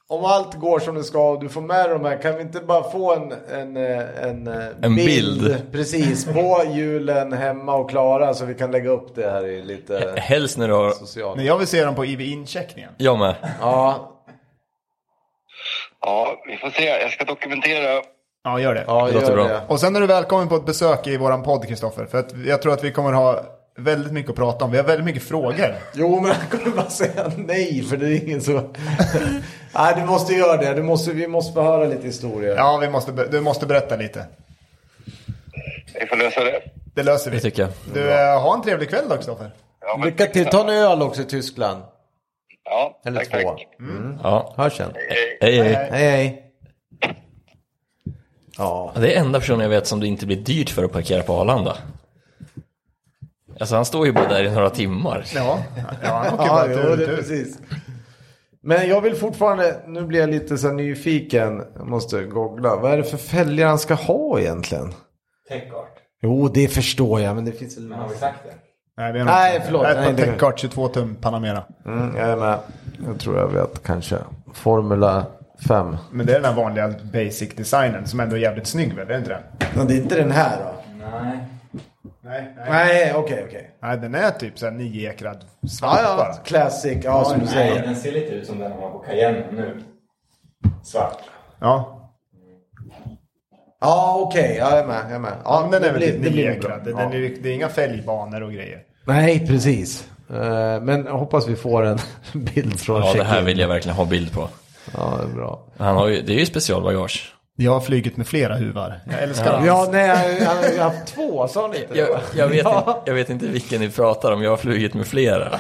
Om allt går som det ska och du får med de här, kan vi inte bara få en, en, eh, en, eh, En bild. Precis, <laughs> på julen hemma och Klara så vi kan lägga upp det här i <laughs> lite Helst när du har... socialt. Men jag vill se dem på IV-incheckningen. Jag med. Ja, ja, vi får se. Jag ska dokumentera. Ja, gör det. ja Det gör låter bra. det. Och sen är du välkommen på ett besök i våran podd, Kristoffer. För att jag tror att vi kommer ha väldigt mycket att prata om. Vi har väldigt mycket frågor. Jo, men han kommer bara säga nej för det är ingen <laughs> så... nej, du måste göra det. Du måste, vi måste få höra lite historier. Ja, vi måste, be- du måste berätta lite. Vi får lösa det. Det löser Det vi. tycker jag. Du, eh, ha en trevlig kväll då, Kristoffer. Ja, men- Lycka till. Ta en öl också i Tyskland. Ja, Eller tack, två. tack. Ja. Hörs sen. Hej. Hej, hej. Hej, hej. Ja. Ja, Det är enda personen jag vet som det inte blir dyrt för att parkera på Arlanda. Alltså han står ju bara där i några timmar. Ja, ja han åker Ja, bara jo, tur det och är tur. precis. Men jag vill fortfarande, nu blir jag lite så här nyfiken, jag måste googla. Vad är det för fälgar han ska ha egentligen? Täckart. Jo, det förstår jag, men det finns väl... Men har vi sagt det? Nej, vi har Nej, nog- förlåt. Nej, Nej, på det- Techcart 22 tum Panamera. Mm, jag är med. Jag tror jag vet kanske. Formula 5. Men det är den här vanliga basic designen som ändå är jävligt snygg väl? Är det inte den? Men det är inte den här då? Nej. Nej, Nej, okej, okej. Nej, den är typ såhär nioekrad svamp Ja, bara. ja, classic. Ja, som du Nej, säger. den ser lite ut som den har på Cayenne nu. Svart. Ja. Ja, okej. Ja, jag är med. Jag är med. ja men den det är väl blir- typ det blir nioekrad. bra. Den Ja. är, ju- det är inga fälgbanor och grejer. Nej, precis. Eh, Men jag hoppas vi får en <laughs> bild från Ja, det här check-in. vill jag verkligen ha bild på. Ja, det är bra. Han har ju, det är ju specialbagage. Jag har flugit med flera huvar. Jag älskar dem. Ja, nej, jag jag har haft två. Sa ni inte det? Jag, jag, vet inte, jag vet inte vilken ni pratar om, jag har flugit med flera.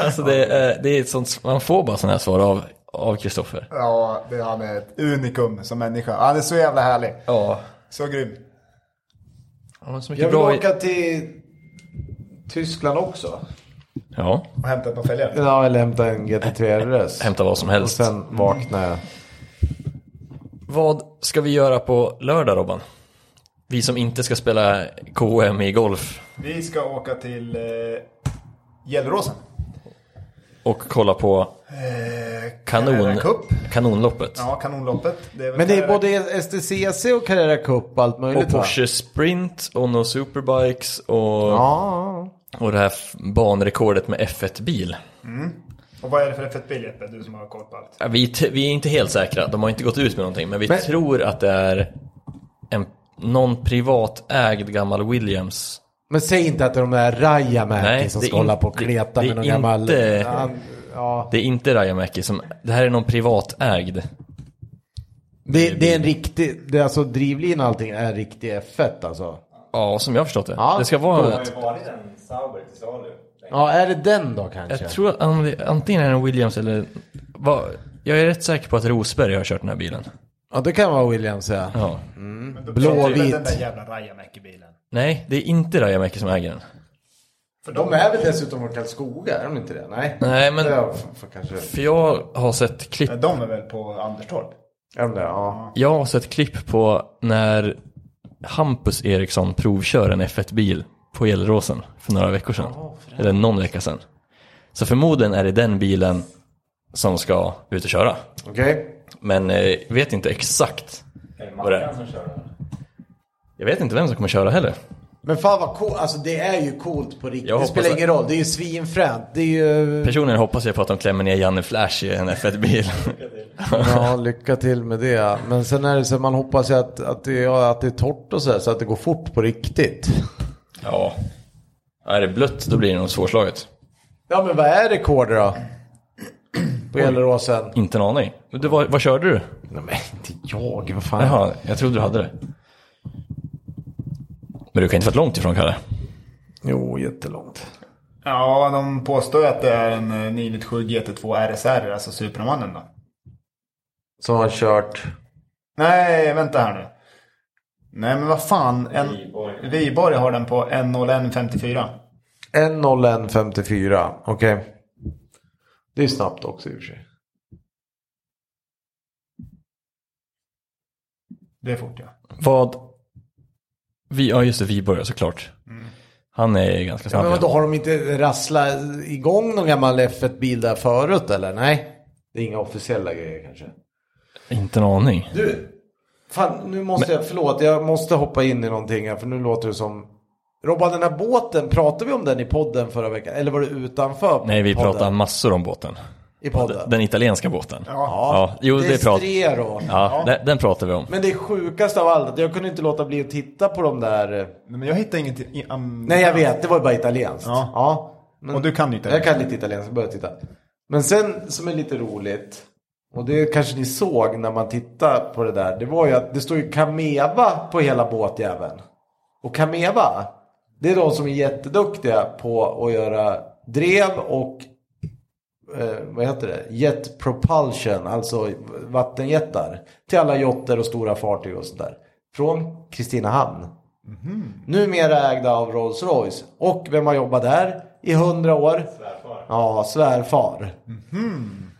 Alltså det, är- det är ett sånt, man får bara sådana här svar av av Kristoffer. Ja, det, han är ett unikum som människa. Han är så jävla härlig. ja. Så grym. Ja, så Jag mycket vill bra. i- åka till Tyskland också. Ja, Och hämta ett par fälgar. Ja, eller hämta en GT3 RS. hämta vad som Och helst. sen vaknar jag. Vad ska vi göra på lördag Robban? Vi som inte ska spela KM i golf Vi ska åka till eh, Gelleråsen. och kolla på kanon, Äh, Carrera Eh, Cup. kanonloppet. Ja, kanonloppet. Det är väl Men det är Carrera- både STCC och Carrera Cup allt möjligt Och Porsche Sprint och No Superbikes och, Ja. och det här f- banrekordet med F1-bil. Och vad är det för fett bil Jeppe? Du som har koll på allt. Ja, Vi, t- vi är inte helt säkra, de har inte gått ut med någonting, men vi Men- tror att det är en, någon privatägd gammal Williams. Men säg inte att det är de där Rajamäki Nej, som det är ska hålla inte- på och kleta med det- det någon är gammal... inte- Han- Ja. Det är inte Rajamäki som, det här är någon privatägd. Det, det är en riktig... Det är alltså drivlinan och allting är en riktig F1 alltså. Ja, som jag har förstått det. Ja, det ska Det vara, har ju varit en Sauber till salu. Ja, är det den då kanske? jag tror att om det, antingen är det en Williams eller, vad- jag är rätt säker på att Rosberg har kört den här bilen. Ja, det kan vara Williams ja. Ja. Men då Blå och pratar vi väl vit. Den där jävla Rajamäki-bilen. Nej, det är inte Rajamäki som äger den. För de är väl dessutom från Karlskoga, är de inte det? Nej. Nej, men- Det är för, för kanske... För jag har sett klipp, Nej, De är väl på Anderstorp? Är de det? Ja. jag har sett klipp på när Hampus Eriksson provkör en F1-bil på Gelleråsen för några veckor sedan. eller någon vecka sedan. Så förmodligen är det den bilen som ska ut och köra. Okej. Men eh, vet inte exakt. Är det Vad är det? Mackan som kör den? Jag vet inte vem som kommer köra heller. Men fan vad coolt, alltså det är ju coolt på riktigt. Jag Det hoppas spelar det. ingen roll, det är ju svinfränt. Det är ju... Personligen hoppas jag på att de klämmer ner Janne Flash i en F1-bil. Ja, lycka till med det. Men sen är det så, man hoppas ju att, att, det, ja, att det är torrt och sådär, så att det går fort på riktigt. <laughs> ja. Är det blött då blir det nog svårslaget. Ja, men vad är rekord då? På Gelleråsen? Inte en aning. Men Du, vad, vad körde du? Nej, men inte jag, vad fan. Jaha, jag trodde du hade det. Men du kan inte varit långt ifrån Kalle. Jo, jättelångt. Ja, de påstår ju att det är en eh, 997 GT2 RSR, alltså Supramannen då. Som har kört... Nej, vänta här nu. Nej, men vad fan. En... Viborg. Viborg har den på 10154. 1.01.54, okej. Det är snabbt också i och för sig. Det är fort ja. Vad? Vi, ja just det, Viborg såklart. Han är ganska Mm. Ja, snabb. men ja. vadå, har de inte rasslat igång någon gammal F1-bil där förut eller? Nej. Det är inga officiella grejer kanske. Inte en aning. Du, fan nu måste jag, förlåt, jag måste hoppa in i någonting här för nu låter det som... Robban, den här båten, pratade vi om den i podden förra veckan? Eller var det utanför Nej, vi podden? pratar massor om båten. I podden? Den italienska båten. Ja, Ja, jo, det prat- Destrero. Ja, Den, den pratar vi om. Men det sjukaste av allt, jag kunde inte låta bli att titta på de där... eh, Nej, Men jag hittar inget i am- Nej jag vet, det var ju bara italienskt. Mm. Ja. men Och du kan ju inte. Jag kan lite italienskt, jag började titta. Men sen som är lite roligt, och det kanske ni såg när man tittade på det där. Det var ju att det står ju Kameva på hela båtjäveln. Och Kameva, det är de som är jätteduktiga på att göra drev och eh, vad heter det? Jet propulsion, alltså vattenjättar. Till alla jotter och stora fartyg och sådär. Från Kristinehamn. Numera ägda av Rolls Royce. Och vem har jobbat där i hundra år? Svärfar. Ja, svärfar.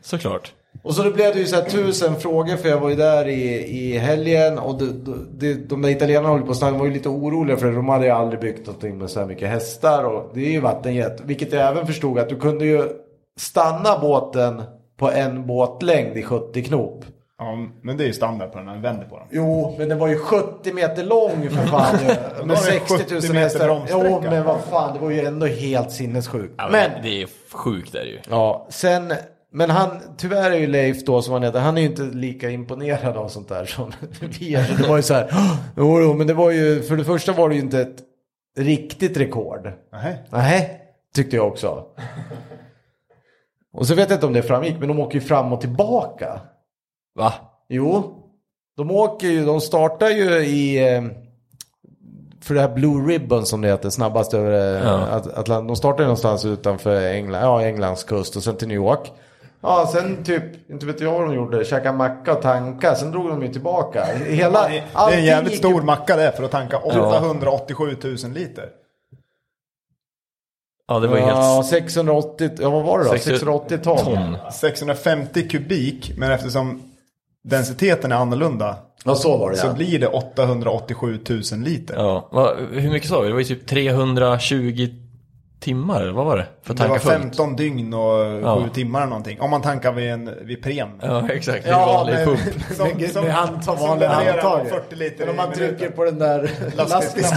Såklart. Och så då blev det ju så här tusen frågor för jag var ju där i, i helgen och det, det, de där italienarna håller på att snacka, var ju lite oroliga för de hade ju aldrig byggt någonting med så här mycket hästar och det är ju vattenjet. Vilket jag även förstod att du kunde ju stanna båten på en båtlängd i 70 knop. Ja, men det är ju standard på den, man vänder på den. Jo, men den var ju 70 meter lång för fan. var det med 60 000 70 meter hästar. Jo, bromssträcka. men vad fan, det var ju ändå helt sinnessjukt. Men det är sjukt är det ju. Ja, sen, men han, tyvärr är ju Leif då som han heter, han är ju inte lika imponerad av sånt där som <laughs> vi är. Det var ju så här, <gasps> "Åh, jo, jo, men det var ju, för det första var det ju inte ett riktigt rekord. Nej. Nej, tyckte jag också. Och så vet jag inte om det framgick, men de åker ju fram och tillbaka. Va? Jo, de åker ju, de startar ju i, eh, för det här Blue Ribbon som det heter, snabbast över eh, Ja. At- Atlant. De startar ju någonstans utanför England, ja, Englands kust och sen till New York. Ja, sen typ, inte vet jag vad de gjorde, käka macka och tanka, sen drog de ju tillbaka. Hela, Det är en allting jävligt gick stor ju- macka det för att tanka 887 000 liter. Ja, det var ju Ja, helt 680, ja vad var det då? 680 680 ton. ton. 650 kubik, men eftersom densiteten är annorlunda Ja, så var det så ja. blir det 887 000 liter. Ja. Va, hur mycket sa vi? Det var ju typ 320 timmar, eller vad var det? För att Det tanka var fullt. 15 dygn och 7 timmar eller någonting. Om man tankar vid, en, vid Prem. Ja, exakt. Ja, Ja, vanlig men- pump. Som- Med- som- med hand- som vanliga levererar handtag. 40 liter Men om i man minuten. trycker på den där lastbilen.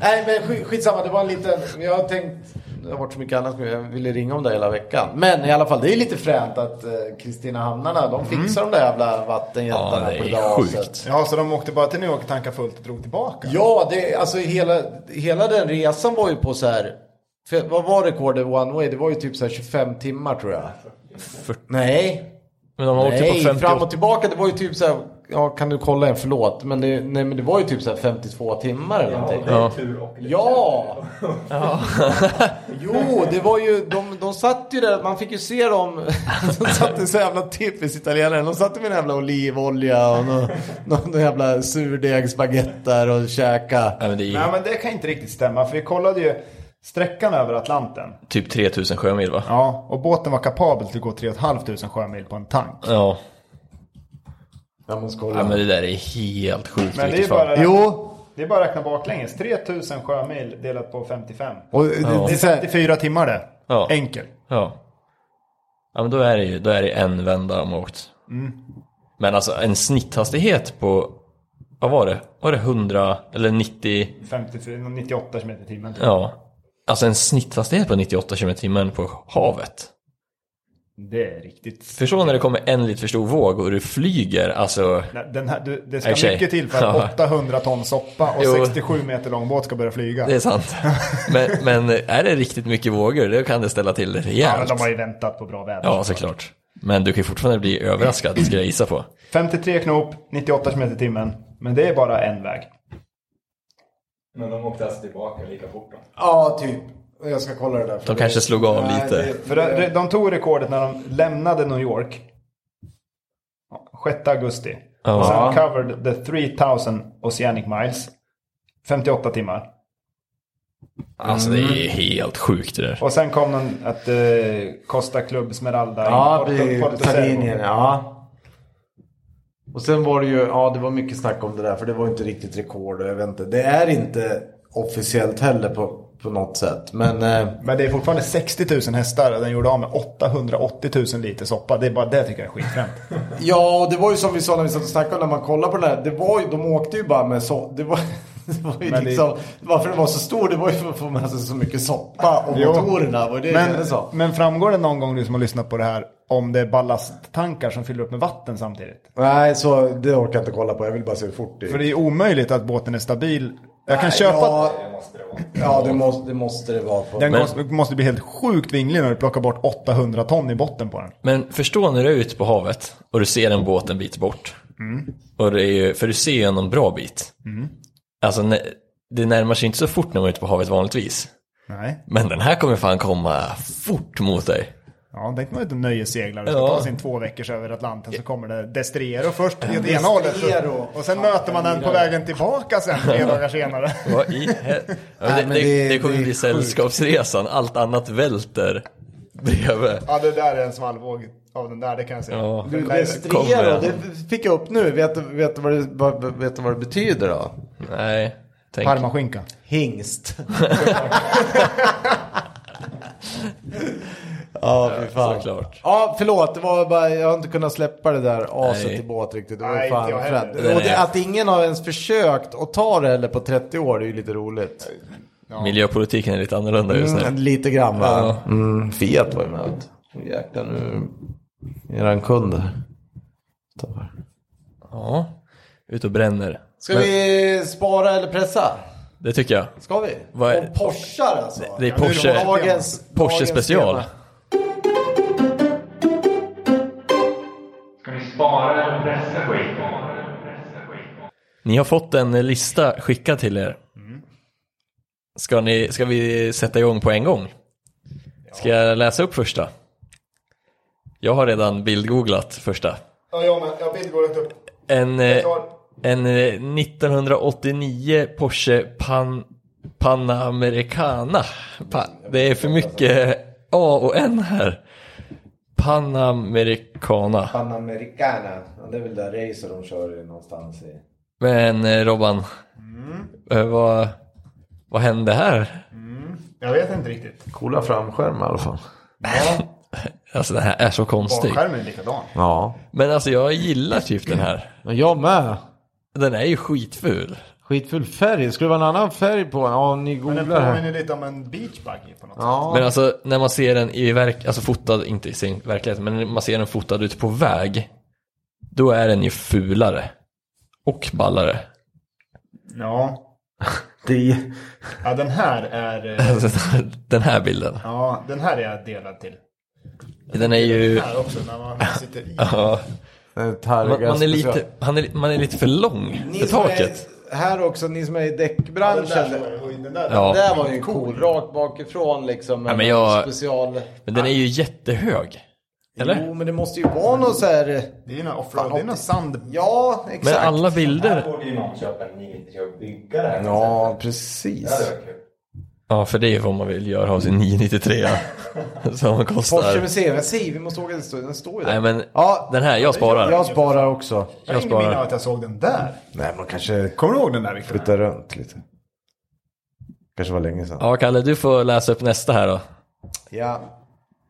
Nej men skit- skitsamma, det var en liten, jag har tänkt, det har varit så mycket annat men jag ville ringa om det hela veckan. Men i alla fall, det är lite fränt att eh, Kristina Hamnarna, de fixar de där jävla Ja, vattenjättarna det på det är där sjukt. aset. Ja, så de åkte bara till New York och tankade fullt och drog tillbaka. Ja, det, alltså hela, hela den resan var ju på så här, för, vad var rekordet one way? Det var ju typ så här 25 timmar tror jag. Nej, Men de åkte Nej, på 50 fram och tillbaka. Det var ju typ så här. Ja, kan du kolla en? Förlåt. Men det, nej, men det var ju typ så här 52 timmar eller någonting. Det är tur och lite Ja! <laughs> jo, det var ju, de, de satt ju där, man fick ju se dem. <laughs> De satt ju så jävla typiskt italienare. De satt ju med en jävla olivolja och någon, någon jävla surdegsbaguette där och käka. Ja, men det är... Nej, men det kan inte riktigt stämma. För vi kollade ju sträckan över Atlanten. Typ 3000 sjömil va? Ja, och båten var kapabel till att gå 3 500 sjömil på en tank. Ja. Jag måste ja, kolla. men det där är helt sjukt. Men det är vilket bara, fan. Jo, det är bara att räkna baklänges. 3000 sjömil delat på 55. och det- det Det är är så här, 54 timmar det. Ja. Enkel. Ja. Ja men då är det ju då är det en vända om åkt. Mm. Men alltså en snitthastighet på, vad var det? Var det 100 eller 90? 54, 98 km i timmen. typ. Ja. Alltså en snitthastighet på 98 km timmen på havet. Det är riktigt. Förstå när det kommer en lite för stor våg och du flyger, alltså. Nej, Den här, du, det ska I och för sig. mycket till för Ja. att 800 ton soppa och Jo. 67 meter lång båt ska börja flyga. Det är sant. Men, men är det riktigt mycket vågor, då kan det ställa till det ja, men rejält. de har ju väntat på bra väder. Ja, såklart. Men du kan ju fortfarande bli överraskad, skulle jag gissa på. 53 knop, 98 km i timmen. Men det är bara en väg. Men de åkte alltså tillbaka lika fort då. ja typ. Jag ska kolla det där. De kanske slog av Nej, lite. det- För de, de tog rekordet när de lämnade New York. Ja, 6 augusti. Ja. Och sen covered the 3000 Oceanic Miles. 58 timmar. Alltså det är helt sjukt det där. Och sen kom den att eh, Costa Club Smeralda. Ja, Porto- vi, Porto Sardinien, Cervo. ja. Och sen var det ju, ja det var mycket snack om det där för det var ju inte riktigt rekord och jag vet inte. Det är inte officiellt heller på, på något sätt. Men eh, Men det är fortfarande 60 000 hästar och den gjorde av med 880 000 liter soppa. Det är bara det tycker jag är skitfränt. ja, och det var ju som vi sa när vi satt och snackade om när man kollade på den här. Det var ju, de åkte ju bara med så, det var, <laughs> det var ju Men det- liksom, varför den var så stor det var ju för att få med sig så mycket soppa och Jo. motorerna. Var det men, men... så? men framgår det någon gång du som har lyssnat på det här om det är ballasttankar som fyller upp med vatten samtidigt? Nej, så det orkar jag inte kolla på. Jag vill bara se hur fort det För är. det är omöjligt att båten är stabil. Jag kan Nej, köpa Ja, Det måste det vara. ja det, måste, det måste det vara. På. Den Men- måste- måste bli helt sjukt vinglig när du plockar bort 800 ton i botten på den. Men förstå när du är ute på havet och du ser en båt en bit bort. Och det är ju, för du ser ju en bra bit. Alltså när- det närmar sig inte så fort när man är ute på havet vanligtvis. Nej, Men den här kommer fan komma fort mot dig. ja, tänk man inte nöjesseglare som Ja. tar sin två veckors över Atlanten så kommer det Destriero först i det ena hållet. Destriero. Och sen möter man den på vägen tillbaka sen tre dagar senare. Vad i hel- Nej, det, men det, det- det kommer det är bli sjukt. sällskapsresan, allt annat välter bredvid. Ja, det där är en svallvåg av den där, det kan jag säga. Ja. Du, Den där- kommer Destriero, den. det fick jag upp nu. Vet du vet, du vad, det- vad, vet du vad det betyder då? Nej, tänk. Parmaskinka. Hingst. <laughs> ja, fy fan. såklart. Ja, förlåt. Det var bara, jag har inte kunnat släppa det där aset Nej. i båt riktigt. Det var Nej, fan inte jag heller. fränt. Den Och det, är- att ingen har ens försökt att ta det heller på 30 år, det är ju lite roligt. Miljöpolitiken är lite annorlunda just nu. Mm, lite grann va? Mm, Fiat var ju med. Jäklar nu. Eran kund här. Ja, ut och bränner. Ska vi spara eller pressa? Det tycker jag. Ska vi? Vad är- Och Porschar alltså? Det är Porsche, Dagens, Porsche dagens special. tema. Ska ni spara eller pressa skiten? Ni har fått en lista skickad till er. Ska, ni, ska vi sätta igång på en gång? Ska jag läsa upp första? Jag har redan bildgooglat första. Ja, jag med. Jag bildgårdat upp. En, eh, tar- en eh, 1989 Porsche Pan, Panamericana. Pa, det är för mycket A och N här. Panamericana. Panamericana. Ja, det är väl där racer de kör någonstans i. Men eh, Robban, Mm. eh, vad, vad hände här? Jag vet inte riktigt. Coola framskärmar i alla fall. Alltså den här är så konstig. Bakskärmen är likadan. Ja. Men alltså jag gillar typ den här. Men Jag med. Den är ju skitful. Skitful färg. Skulle det vara en annan färg på den? Ja, ni Men den googlar här. påminner lite om en beachbuggy på något Ja. Men alltså när man ser den i verk, alltså fotad, inte i sin verklighet, men när man ser den fotad ute på väg. Då är den ju fulare. Och ballare. sätt. Ja. Det... Ja, den här är... <laughs> eh, Alltså, <laughs> den här bilden. Ja, den här är jag delad till. Den är ju... Här också, när man sitter i. Ja, man, man, är lite, han är, man är lite för lång för taket. här också, ni som är i Den däckbranschen. där, och den där. Ja. där var ju cool. Rakt bakifrån liksom. men jag- Special... Men den är ju jättehög. Eller? Jo, men det måste ju vara någon så här... Det är ju någon offroad, det är någon sand. Ja, Men exakt. alla bilder Här borde ju någon köpa en nidrig och bygga det här. Ja, precis. Det hade varit kul. Ja, för det är ju vad man vill göra av sin 993 <laughs> som Porsche kostar. museum, jag säger vi måste åka till studion, den står ju där. Nej men, ja, den här, jag sparar. jag sparar också. Jag har ingen sparar. minne av att jag såg den där. Nej, man kanske Kommer du ihåg den där Viktor? flyttar runt lite. Kanske var länge sedan. Ja, Kalle, du får läsa upp nästa här då. Ja.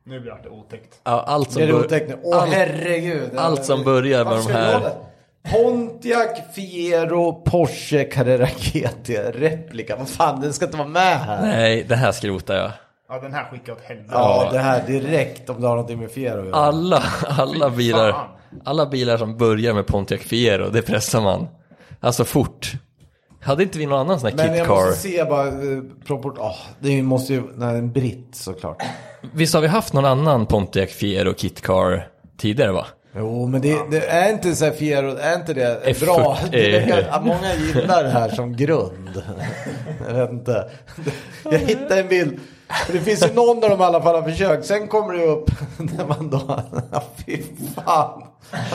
Nu blir det otäckt. Ja, allt som, Det är bör- otäckt nu. Åh allt- Ah, herregud. allt som börjar med Varför de ska jag här- ha det? Pontiac, Fiero, Porsche, Carrera GT, replika. Vad fan, den ska inte vara med här. Nej, det här skrotar jag. Ja, den här skickar jag åt helvete. Ja, det här direkt om det har någonting med Fiero att göra. Alla, alla, bilar, fan. alla bilar som börjar med Pontiac Fiero, det pressar man. Alltså fort. Hade inte vi någon annan sån här Men kit jag car? måste se bara eh, proport... ah det måste ju... Nej, en britt såklart. Visst har vi haft någon annan Pontiac Fiero kit car tidigare va? Jo, men det, det är inte så här Fiero, är inte det bra? F40. Det verkar, att många gillar det här som grund. Jag vet inte. Jag hittade en bild. För det finns ju någon där de i alla fall har försökt. Sen kommer det ju upp <laughs> när man då... Ja, fy fan.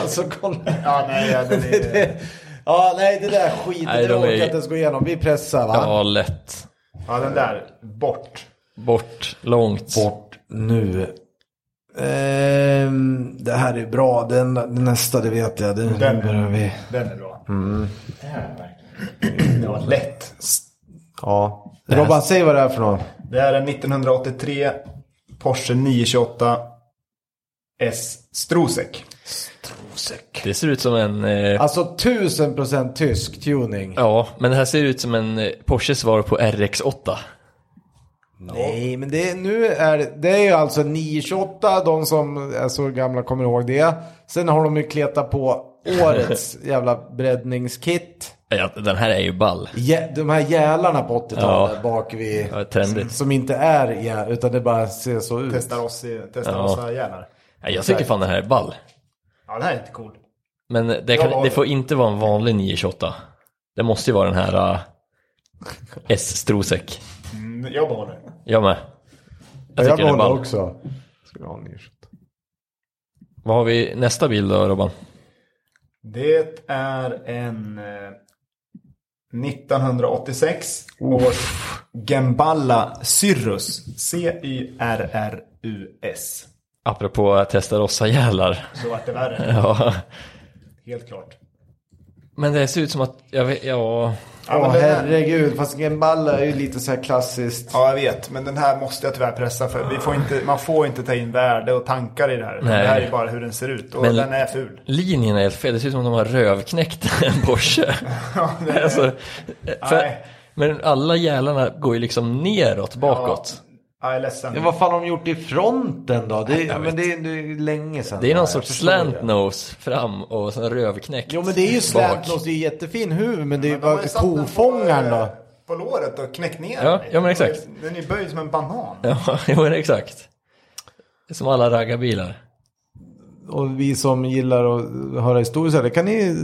Alltså kolla. Ja, nej, ja, <laughs> den Det, <laughs> är... det, ja, nej, det där skiten, Nej, det de är- orkar jag inte ens gå igenom. Vi pressar va? Ja, lätt. ja, den där. Bort. Bort, långt. bort nu. Ehm, det här är bra. Den, den nästa, det vet jag. Den, Den. börjar vi. Den är bra. Det här är <clears throat> verkligen... Det var lätt. Ja. Robban, säg vad det är för något. Det här är en 1983 Porsche 928 S Strosek. Det ser ut som en... Eh, Alltså tusen procent tysk tuning. ja, men det här ser ut som en eh, Porsches svar på RX8. Nej, men det, nu är det- det är ju alltså 928. De som är så gamla kommer ihåg det. Sen har de ju kletat på årets jävla breddningskit. Ja, den här är ju ball. Jä- de här jälarna på 80-talet Ja. bak vid. Ja, trendigt. Som inte är jä- utan det bara ser så ut. Testar oss i testar Ja. oss här gärna. Ja, jag tycker fan den här är ball. Ja, det här är inte cool. Men det, kan, det får inte vara en vanlig 928. Det måste ju vara den här eh, S-Strosek. Mm, jag behåller. Jag med. Jag, Jag tycker jag den är behåller ball. också. Ska vi ha en 928? Vad har vi nästa bil då Robban? Det är en eh, 1986 års Gemballa Cyrrus. C-Y-R-R-U-S. Apropå Testarossa-gälar. Så vart det värre. <laughs> Ja. Helt klart. Men det ser ut som att, jag vet, ja. Ja, Åh men den här- herregud, fast Gemballa är ju lite så här klassiskt. Ja, jag vet. Men den här måste jag tyvärr pressa för. Vi får inte, man får inte ta in värde och tankar i det här. Nej. Det här är bara hur den ser ut. Och Men- den är ful. Linjen är helt fel, det ser ut som att de har rövknäckt <laughs> en Porsche. alltså, för, Nej. men alla gälarna går ju liksom neråt, bakåt. Ja, jag är ledsen. Ja, vad fan har de gjort i fronten då? Det, jag men det, är- det är länge sedan. Det är någon här, sorts jag förstår slant det. nose fram och sen rövknäckt Jo men det är ju bak. slant nose, det är jättefin huvud men det är ju De har bara ju satt den på, kofångaren eh, då. På låret och knäckt ner Ja, den. ja, men exakt. Den är ju böjd som en banan. Ja, <laughs> jo, men exakt. Det är Som alla raggarbilar. Och vi som gillar att höra historier så här, det kan ni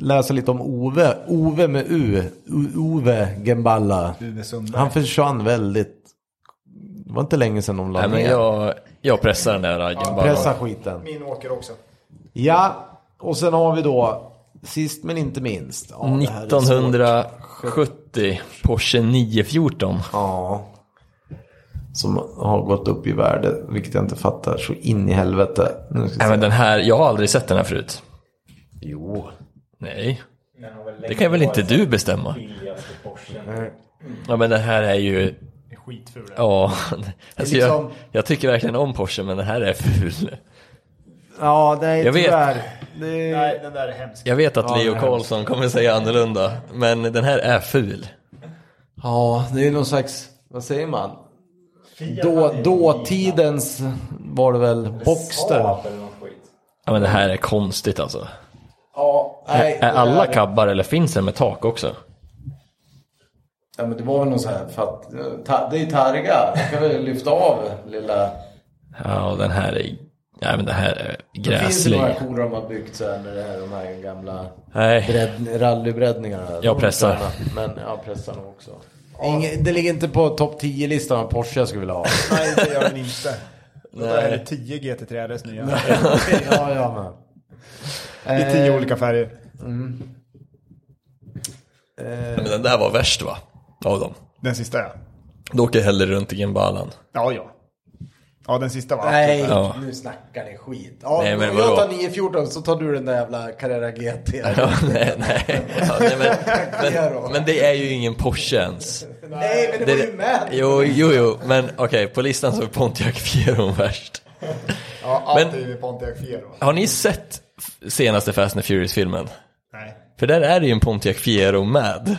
läsa lite om Ove. Ove med U. U- Ove Gemballa. Uwe Sundberg. Han försvann väldigt. Det var inte länge sedan de la Nej, men ner. jag, jag pressar den där raggen Pressa bara. skiten. Min åker också. Ja, och sen har vi då sist men inte minst. Ja, det här är svårt. 1970 Porsche 914. Ja. Som har gått upp i värde, vilket jag inte fattar så in i helvete. Nu ska Nej, jag men se. den här, jag har aldrig sett den här förut. Jo. Nej, Den har väl det kan väl inte du bestämma? Billigaste Porschen. Ja, men den här är ju, Det är skitful. den. ja. Alltså, jag, liksom- jag tycker verkligen om Porsche, men den här är ful. Ja, nej Jag vet. tyvärr. Det... Nej, den där är hemsk. Jag vet att den Leo här- Karlsson kommer säga annorlunda, men den här är ful. Ja, det är någon slags, vad säger man? Då, dåtidens var det väl Boxster? Saab eller någon skit. Ja, men det här är konstigt alltså. Ja, nej. Är det alla där- kabbar eller finns den med tak också? Ja, men det var väl någon sån här, för att, ta, det är Targa. Jag kan väl lyfta av lilla... Ja, den här är... Nej, men det här är Finns det gräslig. några kor de har byggt så här med det här, de här gamla Nej, bredd, rallybreddningarna? Jag pressar. Men jag pressar nog också. Inge, det ligger inte på topp 10-listan av Porsche jag skulle vilja ha. Nej, det gör den inte. <laughs> Det Nej. här är 10 GT3 RS nya. ja, Eh, jag med. I 10 olika färger. men den där var värst va? Av dem. Den sista ja. Då åker jag hellre runt i Gimbalan. Ja, ja. Ja, den sista var Nej, Ja. nu snackar ni skit. Ja, Nej, men jag vadå? tar 9-14 så tar du den där jävla Carrera GT. <laughs> Ja, nej, nej. Ja, <laughs> nej men, Tackar då. men, men det är ju ingen Porsche ens. Nej, men det, var ju med. Jo, jo, jo. Men okej, på listan så är Pontiac Fieron värst. Ja, Men- alltid vid Pontiac Fiero. Har ni sett f- senaste Fast and Furious-filmen? Nej. För där är det ju en Pontiac Fiero med.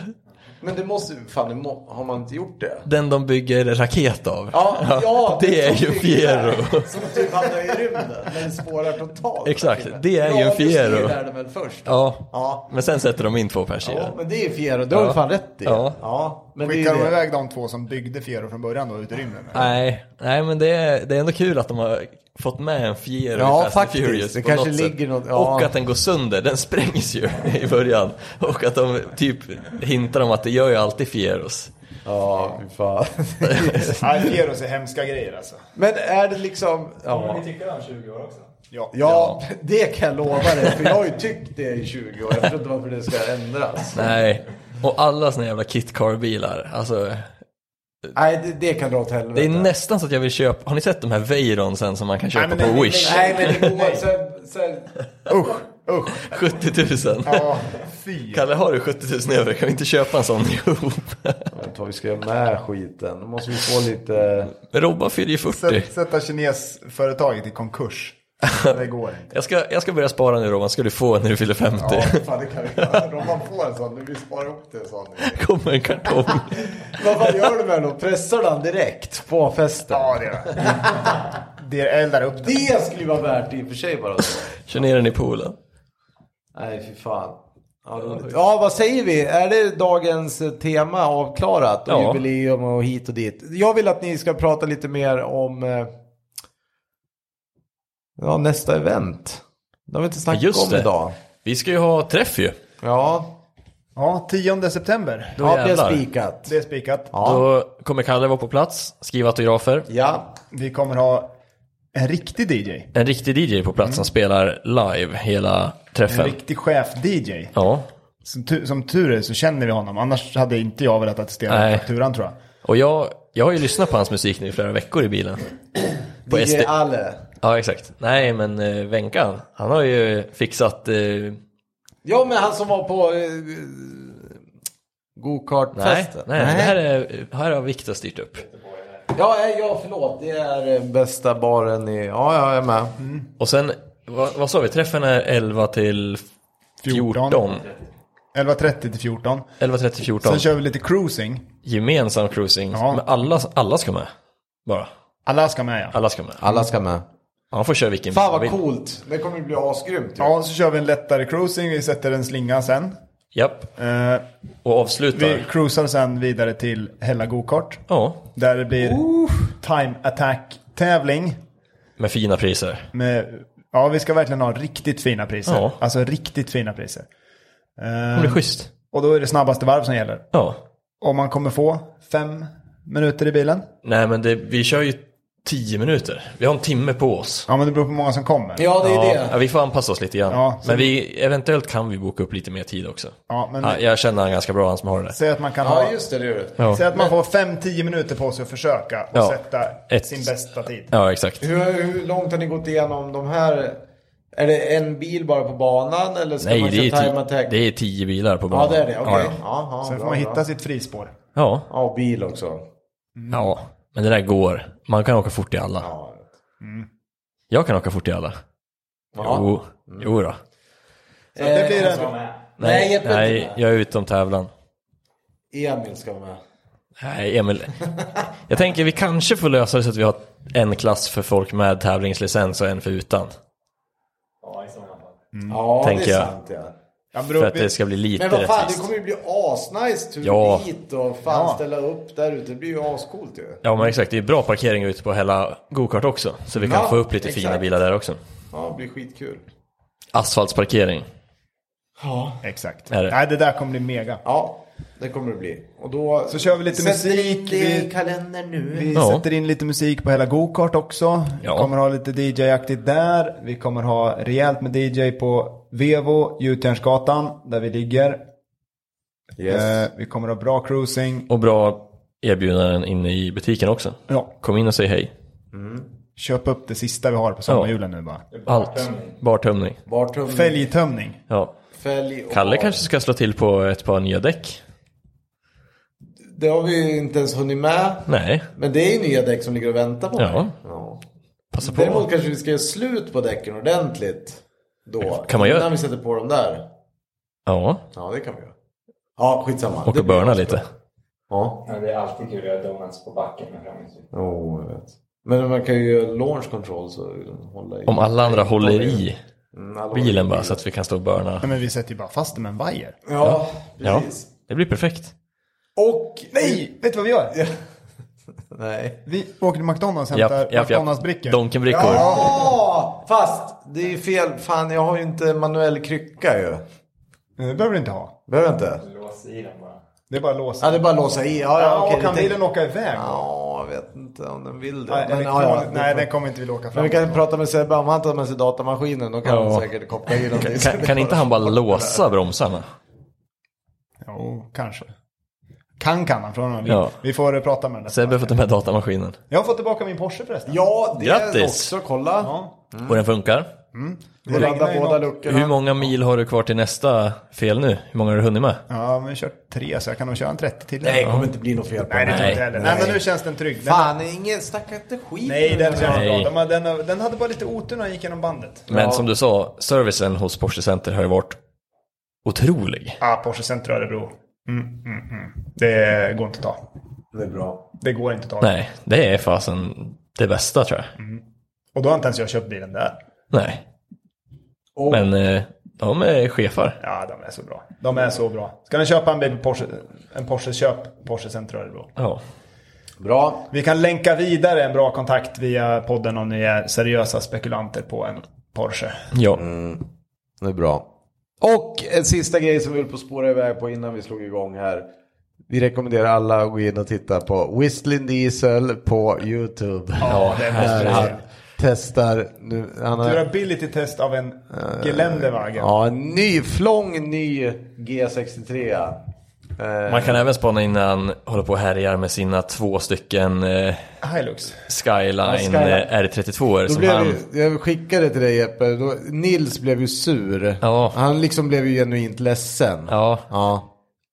Men det måste fan, det må, har man inte gjort det? Den de bygger raket av. <laughs> Ja, ja, det är ju som- Fiero. Som typ hamnar i rymden, men spårar totalt. Exakt, det är ju en Ja, Fiero. det är den väl först. Ja. Ja. men sen sätter de in två pers i Ja, den. men det är ju Fiero, det har Ja. du fan rätt i. Ja. men det är ju Skickar de det. iväg de två som byggde Fiero från början då, ut i rymden? eller? Nej, nej men det är, det är ändå kul att de har fått med en Fiero Ja, i Fast and faktiskt. Furious Det på kanske något ligger sätt. något- ja. Och att den går sönder, den sprängs ju <laughs> i början. Och att de typ hintar om att det gör ju alltid Fieros. Ja, fy <laughs> fan. Nej, Fieros är hemska grejer alltså. men är det liksom... Ja. Vi tycker om 20 år också. Ja. Ja, <laughs> det kan jag lova dig. För jag har ju tyckt det i 20 år. Jag förstår inte varför det ska ändras. Nej, och alla såna jävla kit car bilar alltså Nej, det, det kan dra åt helvete. Det är nästan så att jag vill köpa, har ni sett de här Veyron sen som man kan köpa men på nej, nej, Wish? Nej, men det går... Sen, sen, Usch, <laughs> usch. 70 000. Ja, fy. Kalle, har du 70 000 över? Kan vi inte köpa en sån <laughs> ihop? Jag vet inte vad vi ska göra med skiten. Då måste vi få lite... Robban fyller ju 40. Sätt- Sätta kinesföretaget i konkurs. Det går inte. Jag ska, jag ska börja spara nu Robban, ska du få en när du fyller 50. fan det kan vi göra. Om man får en sån, nu vi sparar upp till en sån. <laughs> Kommer en kartong. Vad fan gör du med den då? Pressar den direkt på festen? Ja, det är det. Det eldar upp det. Det skulle ju vara värt i och för sig bara. Kör ner den i poolen. Nej, fy fan. Ja, roligt. Ja, vad säger vi? Är det dagens eh, tema avklarat? Och Ja. jubileum och hit och dit. Jag vill att ni ska prata lite mer om eh, ja, nästa event. Det har vi inte snackat Just om det. idag. Vi ska ju ha träff ju. Ja, Ja, 10 september. Då ja det jävlar. är spikat. Det är spikat. Ja. Då kommer Kalle vara på plats, skriva autografer. Ja, Vi kommer ha en riktig DJ. En riktig DJ på plats som spelar live hela En träffen. riktig chef-DJ. Ja, Som, tu- som tur är så känner vi honom. Annars hade inte jag velat attestera Nej. fakturan tror jag. och jag, jag har ju lyssnat på hans musik nu i flera veckor i bilen. På DJ SD. Alle. Ja, exakt. Nej, men eh, Wenkan, han har ju fixat... Eh, nej, Ja, men han som var på eh, nej, gokartfesten. det här, är, här har Viktor styrt upp. Ja, eh, ja, förlåt. Det är eh, bästa baren i... Ja, ja, jag är med. Och sen, vad, vad sa vi, träffen är 11 till 14. 11.30 till 14. 11, 30, 14. Sen kör vi lite cruising. Gemensam cruising. Ja. Men alla, alla ska med. Bara. Alla ska med ja. Alla ska med. Alla ska med. Han får köra vilken Fan bil han vad vill. coolt. Det kommer ju bli asgrymt. ju. Ja, så kör vi en lättare cruising. Vi sätter en slinga sen. Japp. Eh, Och avslutar. vi cruisar sen vidare till Hälla Gokart. Ja, Där det blir time attack-tävling. med fina priser. Med, ja, vi ska verkligen ha riktigt fina priser. Ja. Alltså riktigt fina priser. Eh, Det blir schysst. Och då är det snabbaste varv som gäller. Ja. Om man kommer få fem minuter i bilen. Nej, men det, vi kör ju 10 minuter. Vi har en timme på oss. Ja, men det beror på hur många som kommer. Ja, det är Ja, ja, det. vi får anpassa oss lite grann. Ja, så- men vi, eventuellt kan vi boka upp lite mer tid också. Ja, men Ja, jag känner han ganska bra, han som har det. säg att man kan Ja, ha... just det. Det gör det. Ja, Säg att man får fem, tio minuter på sig att försöka och Ja. sätta Ett- sin bästa tid. ja exakt. Hur, hur långt har ni gått igenom de här? Är det en bil bara på banan eller ska Nej, man det är, köra time ti- attack? det är tio bilar på Ja, banan. det är det. Okej. Ja, ja. Ja, ja, Sen får bra, man bra. Eh, hitta sitt frispår. Ja. Ja, och bil också. ja, men det där går. Man kan åka fort i alla. Mm. Ja. Jag kan åka fort i alla. Ja. Mm. Jo, jo då. Så det blir alltså, en... Nej, Jeppe är inte nej, jag är utom tävlan. Emil ska vara med. Nej, Emil. Jag tänker vi kanske får lösa det så att vi har en klass för folk med tävlingslicens och en för utan. Ja, i sådana fall. Ja, Tänker det är jag. sant ja. Ja, För beror, att det ska bli lite Mm. Men vad fan, det rättvist. kommer ju bli asnice tur Ja. dit och fan Ja. ställa upp där ute. Det blir ju ascoolt ju. Ja men exakt, det är bra parkering ute på hela gokart också. Så vi kan Ja, få upp lite fina exakt. bilar där också. Ja, det blir skitkul. Asfaltsparkering. Ja. Exakt. Är det? Nej, det där kommer bli mega. Ja, det kommer det bli. Och då... Så kör vi lite Sätter musik, lite i vi- kalendern nu. Vi Ja. sätter in lite musik på hela gokart också. Ja. Vi kommer ha lite DJ-aktigt där. Vi kommer ha rejält med DJ på Vevo, Gjutjärnsgatan, där vi ligger. Yes. Eh, Eh, vi kommer ha bra cruising. Och bra erbjudanden inne i butiken också. Ja, Kom in och säg hej. köp upp det sista vi har på sommarhjulen nu bara. Allt. Bartömning. Bartrum, Fälgtömning. Ja. fälg och Kalle bar. kanske ska slå till på ett par nya däck? Det har vi ju inte ens hunnit med. Nej. Men det är ju nya däck som ligger och väntar på Ja. mig. Ja. Passa på. Däremot kanske vi ska göra slut på däcken ordentligt. Då. Kan man göra- Innan vi sätter på dem där. Ja. Ja, det kan vi göra. Ja, skitsamma. Och Det och blir burna också. lite. Ja. Ja, det är alltid kul att göra donuts på backen med framgångsrik. Jo, jag vet. Men man kan ju göra launch control så liksom hålla i. Om alla andra håller i Mm, alla håller bilen i. bara så att vi kan stå och burna. Nej, men vi sätter ju bara fast det med en vajer. Ja, Ja. precis. Det blir perfekt. Och... Nej, vet du vad vi gör? Nej. Vi åker till McDonalds och hämtar Japp, japp, japp. McDonalds-brickor. Donkenbrickor. Ja, fast det är ju fel. Fan, jag har ju inte manuell krycka ju. Eh, Det behöver du inte ha. Behöver jag inte? Lås i den bara. Det är bara att låsa. Ja, det är bara att låsa i. Ja, ja, Ja, okej. det kan tänker- bilen åka iväg? Ja, jag vet inte om den vill det. Nej, Men, den ja, ja, kommer- Nej, den kommer inte vilja åka Men fram. vi kan prata med Sebbe om han tar med sig datamaskinen. Då kan Ja. han säkert koppla i den. Kan, kan inte han bara låsa bromsarna? Jo, kanske. Kan kan han från och Ja. ja. Vi får eh, prata med den. Sebbe får ta med datamaskinen. Jag har fått tillbaka min Porsche förresten. Ja, det Grattis. också. Kolla. Ja. Och den funkar. Vi laddar regnar ju båda något. luckorna. Hur många mil har du kvar till nästa fel nu? Hur många har du hunnit med? Ja, men jag har kört tre så jag kan nog köra en 30 till. Nej, det kommer inte bli något fel på Nej, den. det tror jag inte Nej. heller. Nej, men nu känns den trygg. Den, Fan, ingen, snacka inte skit. nej, nu. den känns Nej. bra. De har- Den, har- den hade bara lite otur när den gick genom bandet. Men som du sa, servicen hos Porsche Center har ju varit otrolig. Ah, Porsche Center Örebro. Mm, mm, mm. Det går inte att ta. Det är bra. Det går inte att ta. Nej, det är fasen det bästa tror Mm. jag. Och då har inte ens jag köpt bilen där. Nej, Och, men eh, de är chefar. Ja, de är så bra. De är så bra. Ska ni köpa en bil på Porsche, en Porsche, köp Porsche Center Örebro. Ja. Bra. Vi kan länka vidare en bra kontakt via podden om ni är seriösa spekulanter på en Porsche. ja. Mm. Det är bra. Och en sista grej som vi höll på att spåra iväg på innan vi slog igång här. Vi rekommenderar alla att gå in och titta på Whistling Diesel på YouTube. Ja, det måste Där vi han se. testar nu. Han har, Durability test av en Geländewagen. Eh, ja, en ny, flång ny G63. Eh, Man kan även spana in när han håller på och härjar med sina två stycken eh, Hilux. Skyline, Skyline. eh, R32 Då som blev han... ju, jag skickade till dig Jeppe, då, Nils blev ju sur. Ja. Han liksom blev ju genuint ledsen. Ja, Ja.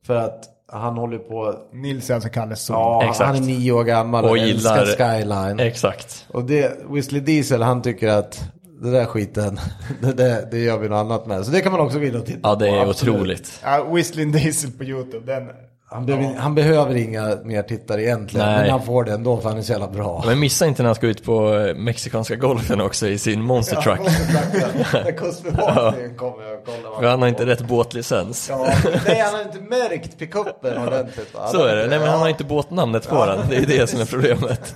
För att han håller på, Nils är alltså Kalles son. ja, Exakt. han är nio år gammal och, Och älskar gillar- skyline. exakt. och det, Whistler Diesel han tycker att det där skiten, <laughs> det, det, det gör vi något annat med. Så det kan man också gå in och titta Ja, det på. är absolut. otroligt. Ja, Whistling Diesel på YouTube. Den, Han, behöver- han behöver inga mer tittare egentligen, Nej. men han får det ändå för han är så jävla bra. <laughs> Men missa inte när han ska ut på eh, mexikanska golfen också i sin monster truck. När <laughs> Kustbevakningen kommer och kollar. vad För han har inte rätt båtlicens. Ja, nej, han har inte märkt pickupen ordentligt. va? Så är det. Nej men han har inte båtnamnet på den. Det är det som är problemet.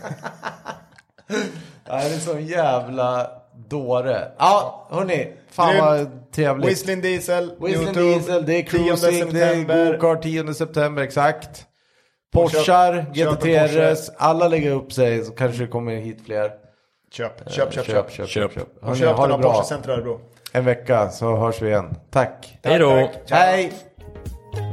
Ja, det är så en jävla dåre. Ja, hörni. Fan vad trevligt. Whistling Diesel, Whistling YouTube. Diesel, det är 10 cruising, det september. är gokart 10 september, exakt. Porschar, Köp- köp en GT3 Porsche. RS, alla lägger upp sig så kanske det kommer hit fler. Köp, köp, köp, köp. köp. Köp. Och Hörni, köp ha den det av bra. Porsche Center Örebro. En vecka så hörs vi igen. Tack. Hej då! Tack, tack. Hej!